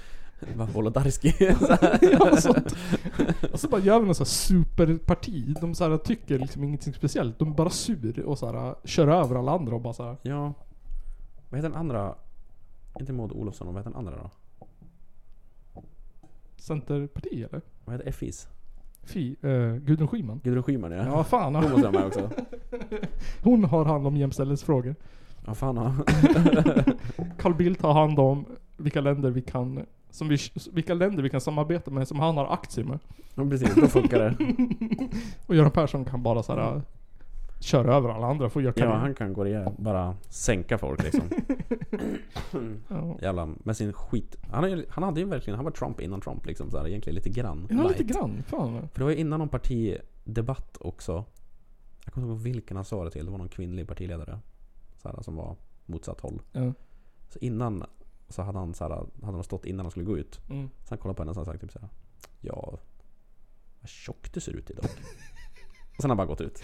C: Va, Wolodarski?
A: [LAUGHS] ja, sånt. Och så bara gör vi något sånt här superparti. De så här, tycker liksom ingenting speciellt. De är bara sur och så här, kör över alla andra och bara så här.
C: ja. Vad heter den andra? Inte Maud Olofsson, vad heter den andra då?
A: Centerparti eller?
C: Vad heter FIs?
A: Fy, eh, Gudrun Schyman.
C: Gudrun Schyman ja.
A: Ja,
C: [LAUGHS]
A: fan.
C: Hon måste vara med också.
A: Hon har hand om jämställdhetsfrågor.
C: Ja fan ja.
A: Carl Bildt har hand om vilka länder vi kan som vi, vilka länder vi kan samarbeta med som han har aktier med.
C: ja precis, då funkar det.
A: Och Göran Persson kan bara så här eh, köra över alla andra för jag kan
C: Ja han kan gå igen. bara sänka folk liksom.
A: Ja.
C: Jävla, med sin skit. Han, har ju- han hade ju verkligen, han var Trump innan Trump liksom så här, egentligen lite grann.
A: Ja, lite
C: light.
A: grann. Fan.
C: För det var ju innan någon partidebatt också. Jag kommer inte ihåg vilken han sa det till. Det var någon kvinnlig partiledare. Så här, som var motsatt håll.
A: Ja.
C: Så innan så hade han så här, hade de stått innan de skulle gå ut.
A: Mm.
C: Så han kollade på henne och så hade han sagt typ så här. Ja, vad tjock du ser ut idag. och sen har han bara gått ut.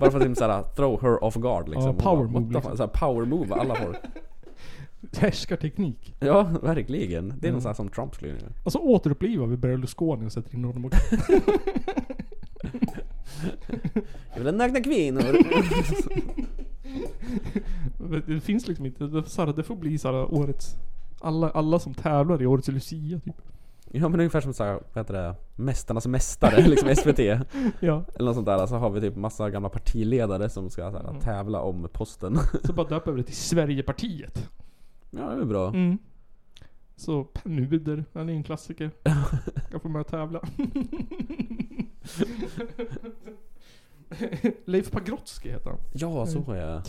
C: Bara för att typ så här, throw her off guard liksom.
A: Ja,
C: Och
A: power
C: bara, what
A: move,
C: the fuck?
A: liksom.
C: Så här, power move alla folk.
A: Härskarteknik.
C: Ja, verkligen. Det är
A: Mm.
C: något så här som Trump skulle göra.
A: Och så återupplivar vi Berlusconi och sätter in honom och... [LAUGHS]
C: Jag vill ha nakna kvinnor.
A: Det finns liksom inte. Det, så här, det får bli så här, årets... Alla, alla som tävlar i årets Lucia typ.
C: ja men ungefär som så här, vad heter det? Mästarnas mästare, liksom SVT.
A: Ja.
C: Eller något sånt där. Så har vi typ massa gamla partiledare som ska så här, tävla om posten. [LAUGHS]
A: Så bara döper vi det till Sverigepartiet.
C: Ja, det är bra.
A: Mm. Så Penuder, den är en [LAUGHS] klassiker. Jag får med och tävla. [LAUGHS] Leif Pagrotsky heter han.
C: Ja, så var jag.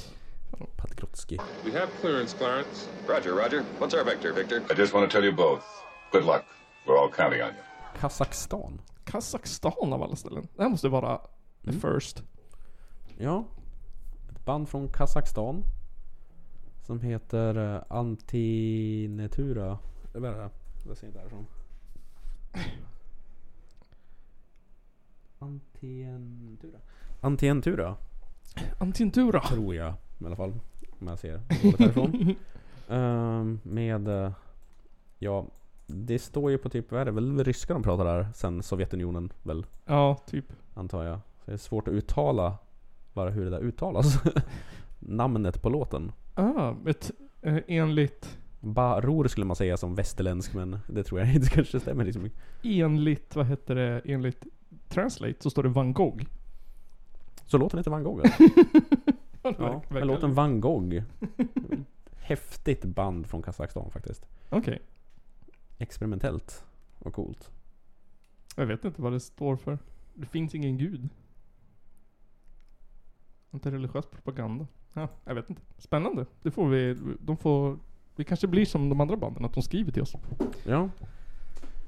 C: Patrotski.
K: We have clearance, Clarence.
L: Roger, Roger. What's our vector, Victor?
K: I just want to tell you both. Good luck. We're all counting on you.
C: Kazakstan.
A: Kazakstan av alla ställen. Det här måste vara the first.
C: Ja. Ett band från Kazakstan. Som heter eh, Antinetura. Det var det. Jag ser inte härifrån. Antientura. Antientura.
A: Antintura.
C: Tror jag i alla fall. Om jag ser ordet härifrån. Ehm, med... eh, Ja, det står ju på typ, vad är det väl ryska de pratar där sen Sovjetunionen väl?
A: Ja, typ.
C: Antar jag. Så det är svårt att uttala bara hur det där uttalas. [LAUGHS] Namnet på låten.
A: Ah, ett, eh, enligt,
C: Baror skulle man säga som västerländsk men det tror jag inte [LAUGHS] kanske stämmer liksom.
A: enligt, vad heter det, enligt Translate så står det van Gogh.
C: Så låten heter Van Gogh eller? Ja,
A: verkar-
C: men låten Van Gogh. Häftigt band från Kazakstan faktiskt.
A: Okej.
C: Experimentellt och coolt.
A: Jag vet inte vad det står för. Det finns ingen gud. Inte religiös propaganda. Ja, jag vet inte. Spännande. Det får vi, de får, det kanske blir som de andra banden, att de skriver till oss.
C: Ja.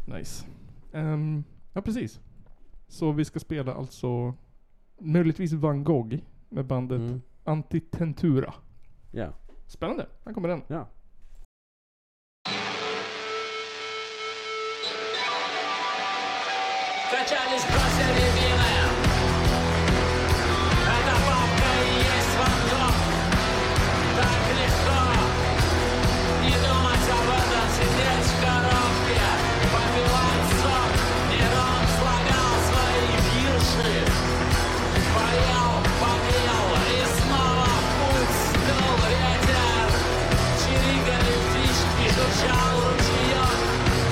A: Nice. Ehm, ja, precis. Så vi ska spela alltså möjligtvis Van Gogh med bandet
C: Mm.
A: Antitentura.
C: Ja.
A: Spännande. Här kommer den.
C: Ja.
M: Kachalys proszę nie wiele A ta łapka jest wam go Tak lekko Nie dumać, a woda siedzieć w koropie Popyłać sok Nie rąk słagał swoich wierszy Pajał, pajał I znowu płód snuł wiedział Чирикали птички, журчал ручеек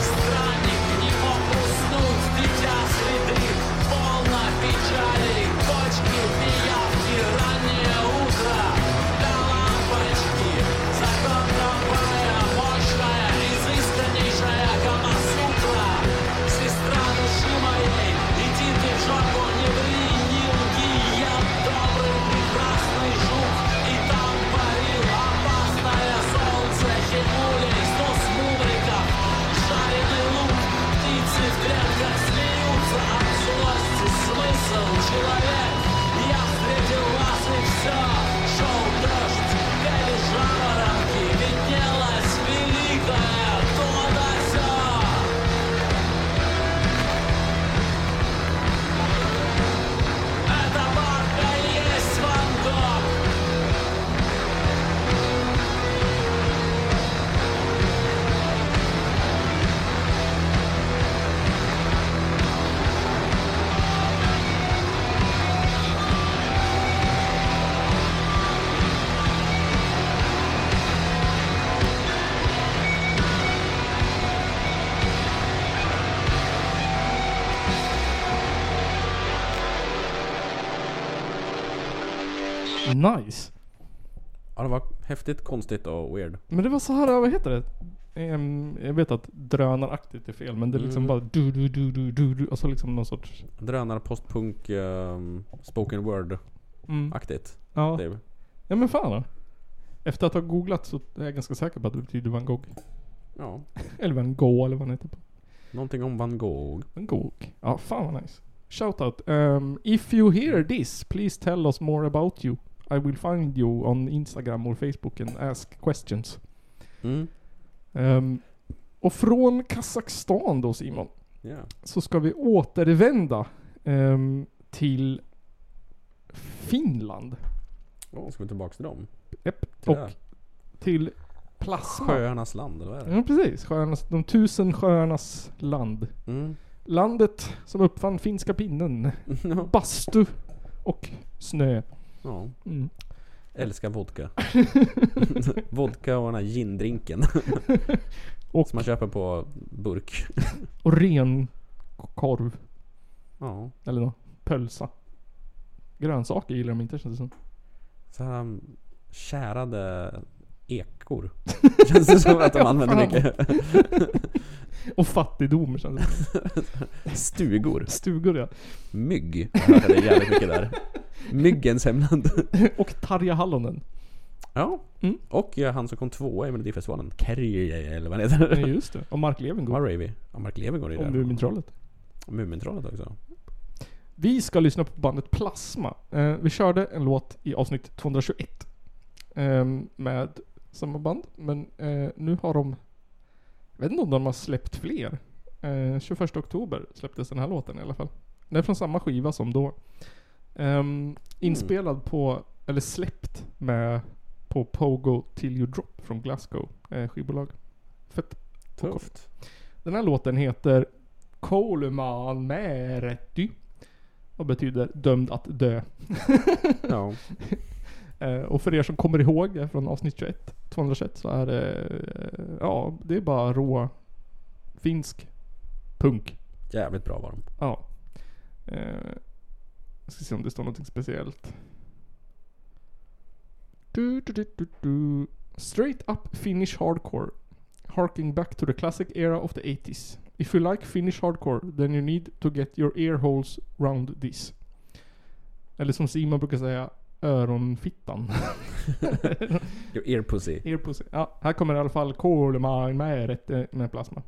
M: Странник не мог уснуть, дитя среды Полно печали, кочки, пиявки Раннее утро, до лампочки За трамвая мощная, изысканнейшая Камасутра Сестра души моей, иди ты в жопу, не ври, не лги Я добрый, прекрасный жук, и там парил опасное солнце Хибулей, снос мудрика, жареный лук Птицы в грядках смеются от злости Смысл человек, я встретил вас и все Шел дождь, горели жаворонки Виднелась великая то-да-сё Эта бабка есть Ван Гог.
A: Nice.
C: Ja, det var häftigt, konstigt och weird.
A: Men det var så här, vad heter det? Ehm, jag vet att drönaraktigt är fel, men det är liksom
C: Mm.
A: bara du du du du du du och så liksom någon sorts...
C: Drönar, postpunk, ehm, spoken
A: Mm.
C: word-aktigt.
A: Ja.
C: Det är-
A: Ja men fan då. Efter att ha googlat så är jag ganska säker på att det betyder van Gogh.
C: Ja.
A: Eller van Gogh eller vad han heter. på-
C: Någonting om Van Gogh.
A: Van Gogh. Ja, fan vad nice. Shoutout. Um, if you hear this, please tell us more about you. I will find you on Instagram or Facebook and ask questions.
C: Mm.
A: Ehm, och från Kazakstan då Simon.
C: Ja.
A: så ska vi återvända ehm, till Finland.
C: Åh, ska vi tillbaka till dem?
A: Japp.
C: Till
A: och
C: det här.
A: till plasma.
C: Sjöarnas land, eller vad är det?
A: Ja precis, sjöarnas, de tusen sjöarnas land.
C: Mm.
A: Landet som uppfann finska pinnen,
C: [LAUGHS] Ja.
A: bastu och snö.
C: Ja.
A: Mm. [LAUGHS]
C: Älskar vodka. vodka och den här gindrinken.
A: Och-
C: Som man köper på burk.
A: Och ren korv,
C: Ja.
A: eller nå, pölsa. Grönsaker gillar de inte känns det som.
C: Så här um, ehm, kärade
A: [LAUGHS]
C: ekor. Känns det som att de använder
A: Fan.
C: mycket?
A: Och fattigdom känns
C: [LAUGHS] det Stugor.
A: Stugor ja.
C: Mygg. Jag hörde det jävligt mycket där. Myggens hemland.
A: Och Tarja Halonen.
C: Ja. Och ja, han som kom tvåa i Melodifestivalen. Kerry eller vad han heter.
A: Nej, just det. Och Mark Levengood.
C: Maravy. Ja, Mark Levengood är ju
A: Och
C: där.
A: Mumintrollet.
C: Mumintrollet också.
A: Vi ska lyssna på bandet Plasma. Eh, vi körde en låt i avsnitt 221. ehm, med samma band. Men eh, nu har de... Jag vet inte om de har släppt fler. Eh, 21 oktober släpptes den här låten i alla fall. Den är från samma skiva som då. Ehm, inspelad på, eller släppt med, på Pogo Till You Drop från Glasgow eh, skivbolag. Fett.
C: Tufft.
A: Den här låten heter Koleman Märätty. Och betyder dömd att dö.
C: Ja.
A: [LAUGHS] Eh, och för er som kommer ihåg det från avsnitt 21, 221 så är det, eh, ja det är bara rå finsk punk.
C: Jävligt bra var de.
A: Ja. Eh, jag ska se om det står någonting speciellt. Du, du, du, du, du. Straight up Finnish hardcore. Harking back to the classic era of the 80s. If you like Finnish hardcore, then you need to get your ear holes round this. Eller som Simon brukar säga, öronfittan. [LAUGHS]
C: Your ear pussy.
A: ear pussy. Ja, här kommer i alla fall Kolmain med rätt eh, med plasma.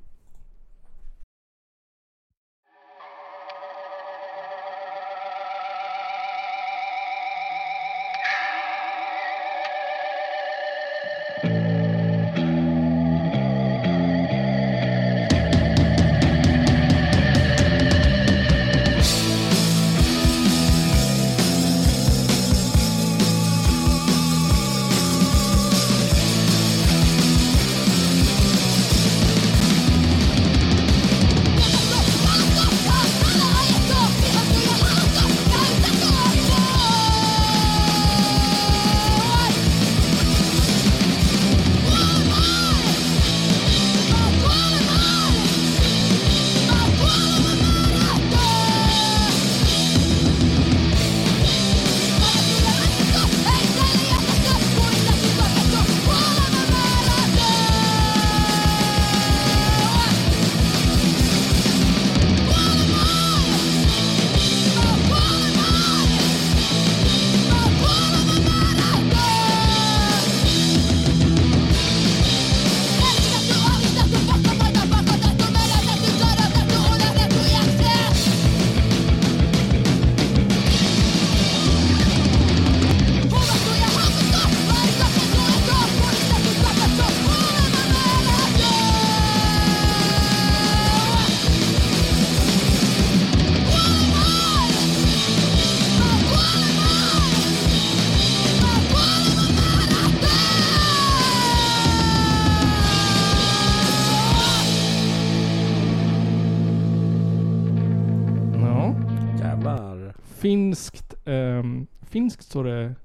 A: Ja.
C: Jävlar.
A: Finskt, ehm, finskt står det...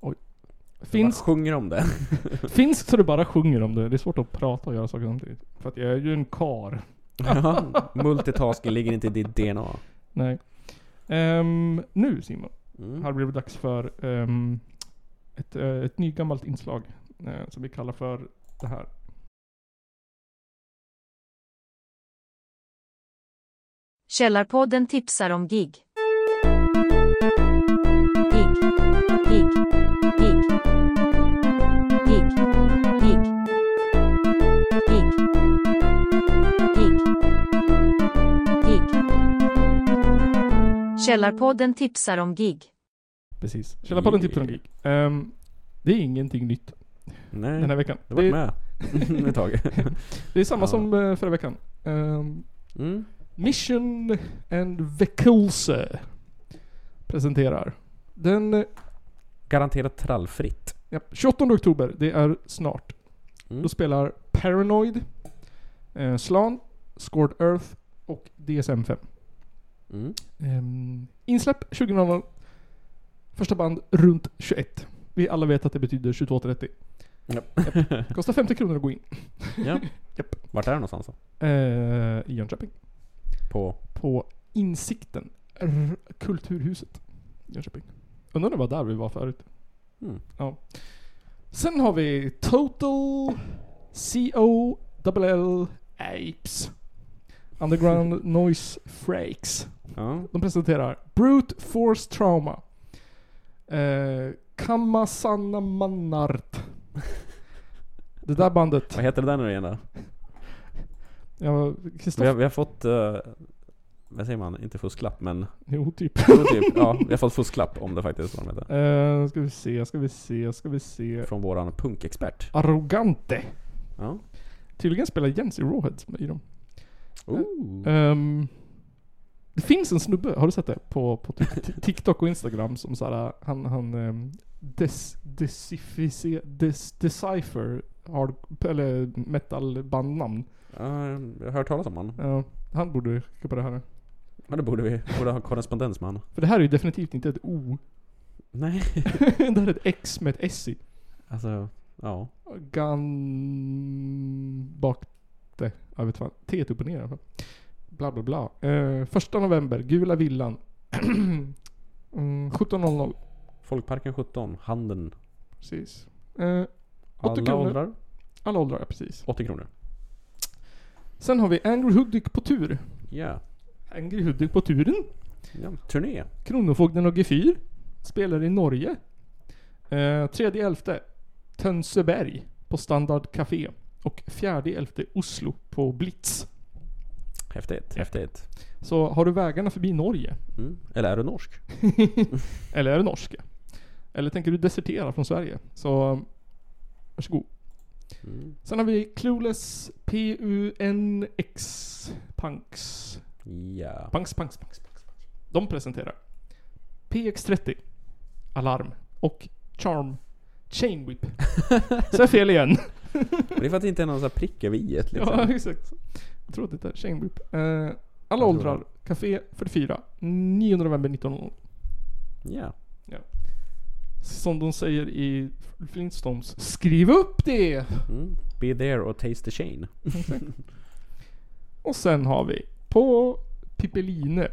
A: Oj.
C: Finns...
A: Finskt,
C: Bara sjunger om det.
A: finskt så det bara sjunger om det. Det är svårt att prata och göra saker samtidigt. För att jag är ju en kar.
C: ja, multitasking ligger inte i ditt DNA.
A: Nej. Ehm, nu Simon,
C: Mm.
A: har det blivit dags för ehm, ett, uh, ett nygammalt inslag eh, som vi kallar för det här.
E: Källarpodden tipsar om gig. Gig. Gig. Gig. Gig. Gig. Gig. Gig. Gig. Källarpodden tipsar om gig.
A: Precis. Källarpodden tipsar om gig. Ehm, det är ingenting nytt
C: Nej.
A: den här veckan.
C: Du har varit med ett tag.
A: det är samma
C: Ja.
A: som eh, förra veckan. Ehm,
C: Mm.
A: Mission and Vekelse presenterar. Den eh,
C: Garanterat trallfritt.
A: ja, 28 oktober, det är snart.
C: Mm.
A: Då spelar Paranoid, eh, Slan, Scored Earth och DSM-5.
C: Mm.
A: Ehm, insläpp 20.00. Första band runt 21. Vi alla vet att det betyder 22.30.
C: Japp.
A: Japp. Kostar 50 kronor att gå in.
C: Ja.
A: Japp.
C: Vart är det någonstans då?
A: Eh, I Jönköping.
C: På...
A: På Insikten. R- Kulturhuset. Jönköping. Undrar om det var där vi var förut.
C: Mm.
A: Ja. Sen har vi Total C-O-L-L Apes. Underground Noise Freaks. De presenterar Brute Force Trauma. Eh, Kamasana Manart. Det där bandet.
C: Vad heter det där nu igen då?
A: Ja,
C: Vi har, vi har fått, eh, vad säger man, inte fusklapp men...
A: Jo, typ.
C: Jo, typ. Ja, vi har fått fusklapp om det faktiskt. Vad de heter.
A: Eh, ska vi se, ska vi se, ska vi se.
C: Från våran punkexpert.
A: Arrogante.
C: Ja.
A: Tydligen spelar Jens i Rawheads med i dem.
C: Ooh.
A: Ehm, det finns en snubbe, har du sett det? På, på typ t- TikTok och Instagram som såhär, han, han um, des, desifice, des, decipher hard, eller metalbandnamn.
C: Ja, jag har hört talas om honom.
A: Ja, han borde skicka på det här.
C: Ja, det borde vi. Borde ha korrespondens med honom.
A: För det här är ju definitivt inte ett O. [LAUGHS]
C: Nej.
A: det här är ett X med ett S i.
C: Alltså, ja.
A: Gan... Bakte. Jag vet fan. T typ upp och ner i alla fall. Bla bla bla. Eh, första november, Gula Villan. [CLEARS THROAT] mm, 17.00.
C: Folkparken 17, Handen.
A: Precis. Eh, 80
C: Alla
A: kronor.
C: åldrar.
A: Alla åldrar, ja, precis.
C: 80 kronor.
A: Sen har vi Angry Hudik på tur.
C: Ja.
A: Angry Hudik på turen.
C: ja. Turné.
A: Kronofogden och Gefyr. Spelar i Norge. Eh, 3.11. Tönseberg på Standard Café. Och 4.11. Oslo på Blitz.
C: Häftigt. Häftigt.
A: Så har du vägarna förbi Norge?
C: Mm. Eller är du norsk?
A: Eller är du norsk? Eller tänker du desertera från Sverige? Så varsågod.
C: Mm.
A: Sen har vi Clueless PUNX Punks.
C: Ja.
A: Punks, punks, punks, punks. punks. De presenterar PX30 Alarm och Charm Chainwhip. Så jag fel igen.
C: Men det är för att det inte är någon sån här prick över i liksom.
A: ja, exakt. Jag tror att det är Chainwhip. Eh, alla åldrar. Café 44. 9 november 1900.
C: Ja.
A: Ja. Som de säger i Flintstones. Skriv upp det!
C: Mm. Be there or taste the chain.
A: Och sen har vi på Pippeline.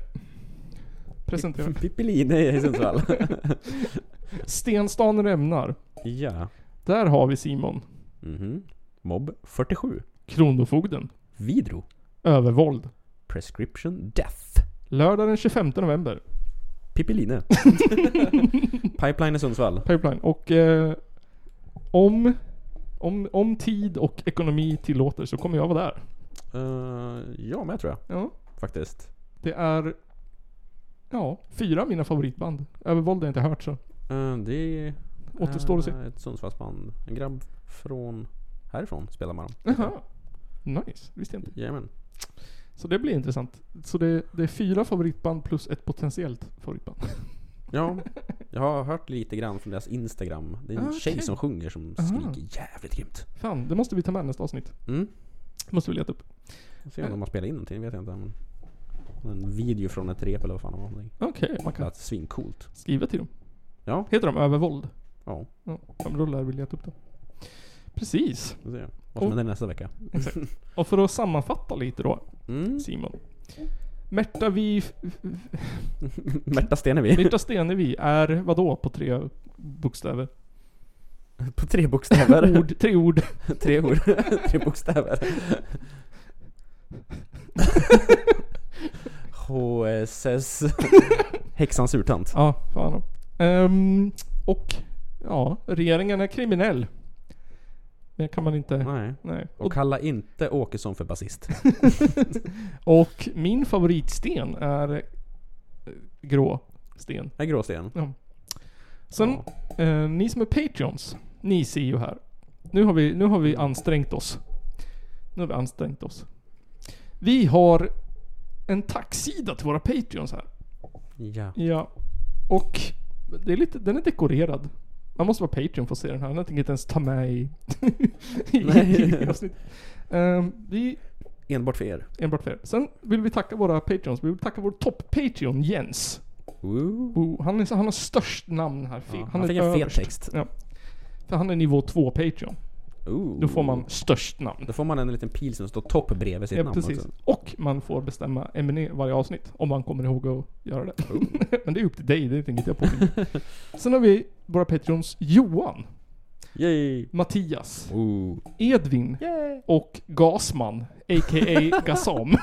C: [LAUGHS]
A: Presenterar.
C: Pippeline i Sundsvall.
A: Stenstan rämnar.
C: ja.
A: Där har vi Simon.
C: Mhm. Mob 47.
A: Kronofogden.
C: Vidro.
A: Övervåld.
C: Prescription Death.
A: Lördag den 25 november.
C: [LAUGHS] Pippeline. Pipeline i Sundsvall.
A: Pipeline. Och eh, om, om, om tid och ekonomi tillåter så kommer jag vara där.
C: Eh, ja, med tror jag.
A: Ja.
C: Faktiskt.
A: Det är ja, fyra av mina favoritband. Övervåld har jag inte hört så.
C: Eh, det
A: Återstår att se.
C: är ett Sundsvallsband. En grabb från härifrån spelar man dem.
A: Jaha. Nice, visste jag inte.
C: Jajamän.
A: Så det blir intressant. Så det, det är fyra favoritband plus ett potentiellt favoritband.
C: Ja, jag har hört lite grann från deras Instagram. Det är en
A: Ah,
C: tjej
A: okej.
C: som sjunger som
A: Aha.
C: skriker jävligt grymt.
A: Fan, det måste vi ta med nästa avsnitt.
C: Mm.
A: Måste vi leta upp.
C: Jag ser om de har spelat in någonting, vet jag inte. Men en video från ett rep eller vad fan det var. någonting.
A: Okej, man
C: Det
A: kan
C: lät svincoolt.
A: skriva till dem.
C: Ja.
A: Heter de Övervåld?
C: Ja,
A: Ja, ja, men då lär vi leta upp dem. Precis.
C: vi får se vad som
A: Och-
C: händer nästa vecka.
A: Exakt. Och för att sammanfatta lite då,
C: Mm.
A: Simon. Märta Vi...
C: [LAUGHS] Märta Stenevi.
A: Märta Stenevi är vadå på tre bokstäver?
C: [LAUGHS] På tre bokstäver.
A: Ord, tre ord.
C: [LAUGHS] tre ord. [LAUGHS] tre
A: [LAUGHS]
C: bokstäver. HSS. Häxans urtant.
A: Ja, fan. Um, och ja, regeringen är kriminell. Men kan man inte...
C: Nej.
A: Nej.
C: Och kalla inte Åkesson för basist.
A: Och min favoritsten är eh, grå sten.
C: En gråsten.
A: Ja. Sen, eh, ni som är Patreons, ni ser ju här. Nu har, vi, nu har vi ansträngt oss. Nu har vi ansträngt oss. Vi har en tacksida till våra Patreons här.
C: Ja.
A: Ja. Och det är lite, den är dekorerad. Man måste vara Patreon för att se den här. Den tänker jag inte ens ta med i, [LAUGHS] i, i [LAUGHS] avsnitt. Ehm, vi
C: Enbart för er.
A: Enbart för er. Sen vill vi tacka våra Patreons. Vi vill tacka vår topp-Patreon Jens.
C: Ooh.
A: Oh, han, är, han har störst namn här. Fi-
C: Ja,
A: han
C: han
A: är
C: fick en fet
A: överst.
C: text.
A: Ja. För han är nivå 2 Patreon.
C: Ooh.
A: Då får man störst namn.
C: Då får man en liten pil som står topp bredvid sitt
A: Ja,
C: namn
A: precis.
C: också.
A: Och man får bestämma ämne i varje avsnitt. Om man kommer ihåg att göra det.
C: Mm.
A: [LAUGHS]
C: [LAUGHS]
A: Men det är upp till dig, det är inget jag påminner. Sen har vi våra Patreons Johan. Mattias, Edvin och Gasman, a.k.a. Gasam.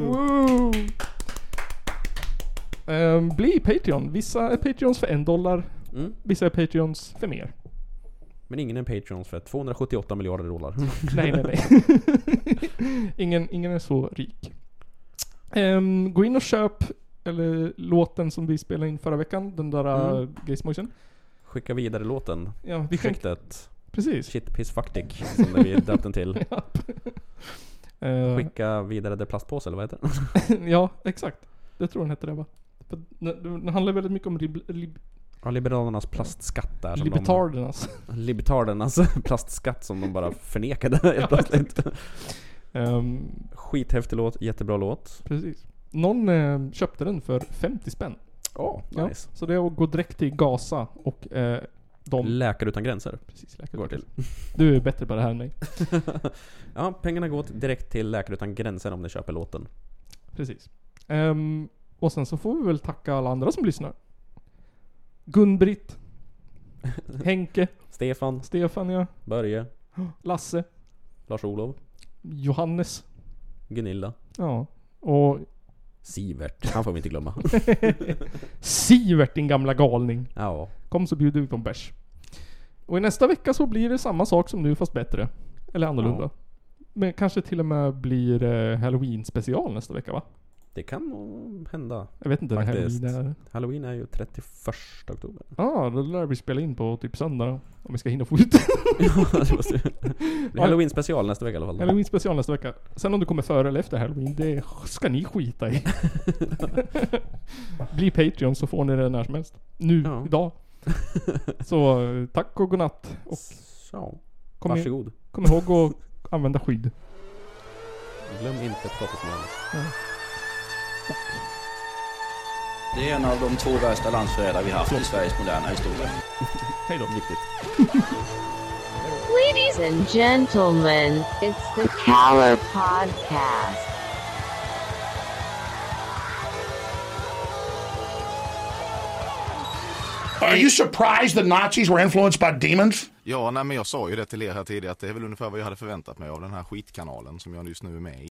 A: Wow. Ehm, bli Patreon. Vissa är Patreons för en dollar. Vissa är Patreons för mer.
C: Mm. Men ingen är Patreons för 278
A: [LAUGHS]
C: miljarder dollar.
A: Nej, nej, nej. ingen, ingen är så rik. Ehm, gå in och köp eller låten som vi spelade in förra veckan, den där
C: Mm.
A: mm. Gaysmotion.
C: Skicka vidare låten.
A: Ja, vi skänk-
C: Projektet.
A: Precis.
C: Shit piss fuck dick, som vi döpte den till.
A: Eh.
C: Skicka vidare det plastpåse, eller vad heter
A: [LAUGHS]
C: den?
A: ja, exakt. Jag tror den hette det va? För Den den handlar väldigt mycket om rib, rib,
C: Ja, Liberalernas plastskatt där. som de-
A: Libertardernas. [LAUGHS]
C: Libertardernas [LAUGHS] plastskatt som de bara förnekade helt plötsligt. Skithäftig låt, jättebra låt.
A: Ehm, Precis. Någon eh, köpte den för 50 spänn.
C: Oh, nice.
A: Så det är att gå direkt till Gaza och eh, de...
C: Läkare utan gränser.
A: Precis, Läkare
C: går
A: utan
C: till.
A: [LAUGHS] du är bättre på det här än mig.
C: Ja, pengarna går direkt till Läkare utan gränser om ni köper låten.
A: Precis. Ehm, och sen så får vi väl tacka alla andra som lyssnar.
C: [LAUGHS]
A: Gun-Britt. Henke.
C: Stefan.
A: Stefan ja.
C: Börje.
A: Lasse.
C: Lars-Olov.
A: Johannes.
C: Gunilla.
A: Ja. Och
C: Sivert. Han får vi inte glömma.
A: Sivert din gamla galning.
C: Ja.
A: Kom så bjuder vi på en bärs. Och i nästa vecka så blir det samma sak som nu fast bättre. Eller annorlunda.
C: Ja.
A: Men kanske till och med blir eh, halloween special nästa vecka va?
C: Det kan nog hända.
A: Jag vet inte när halloween är.
C: Halloween är ju 31
A: [LAUGHS]
C: oktober. [LAUGHS]
A: Ja, då lär vi spela in på typ söndag då, Om vi ska hinna få
C: [LAUGHS]
A: ut
C: det måste vi. Det är halloween special nästa vecka i alla fall.
A: Halloween special nästa vecka. Sen om du kommer före eller efter halloween, det ska ni skita
C: [LAUGHS]
A: i. Bli Patreon så får ni det när som helst. Nu,
C: [LAUGHS]
A: idag. Så eh, tack och godnatt. Och kom, i-
C: Varsågod.
A: kom ihåg att använda skydd.
C: Glöm inte potatismjöl.
N: Det är en av de två värsta landsförrädare vi haft i Sveriges moderna historia.
A: Hej då.
O: Ladies and gentlemen, it's the Caller Podcast.
P: Are you surprised the Nazis were influenced by demons?
J: Ja, nej, men jag sa ju det till er här tidigare att det är väl ungefär vad jag hade förväntat mig av den här skitkanalen som jag just nu är med i.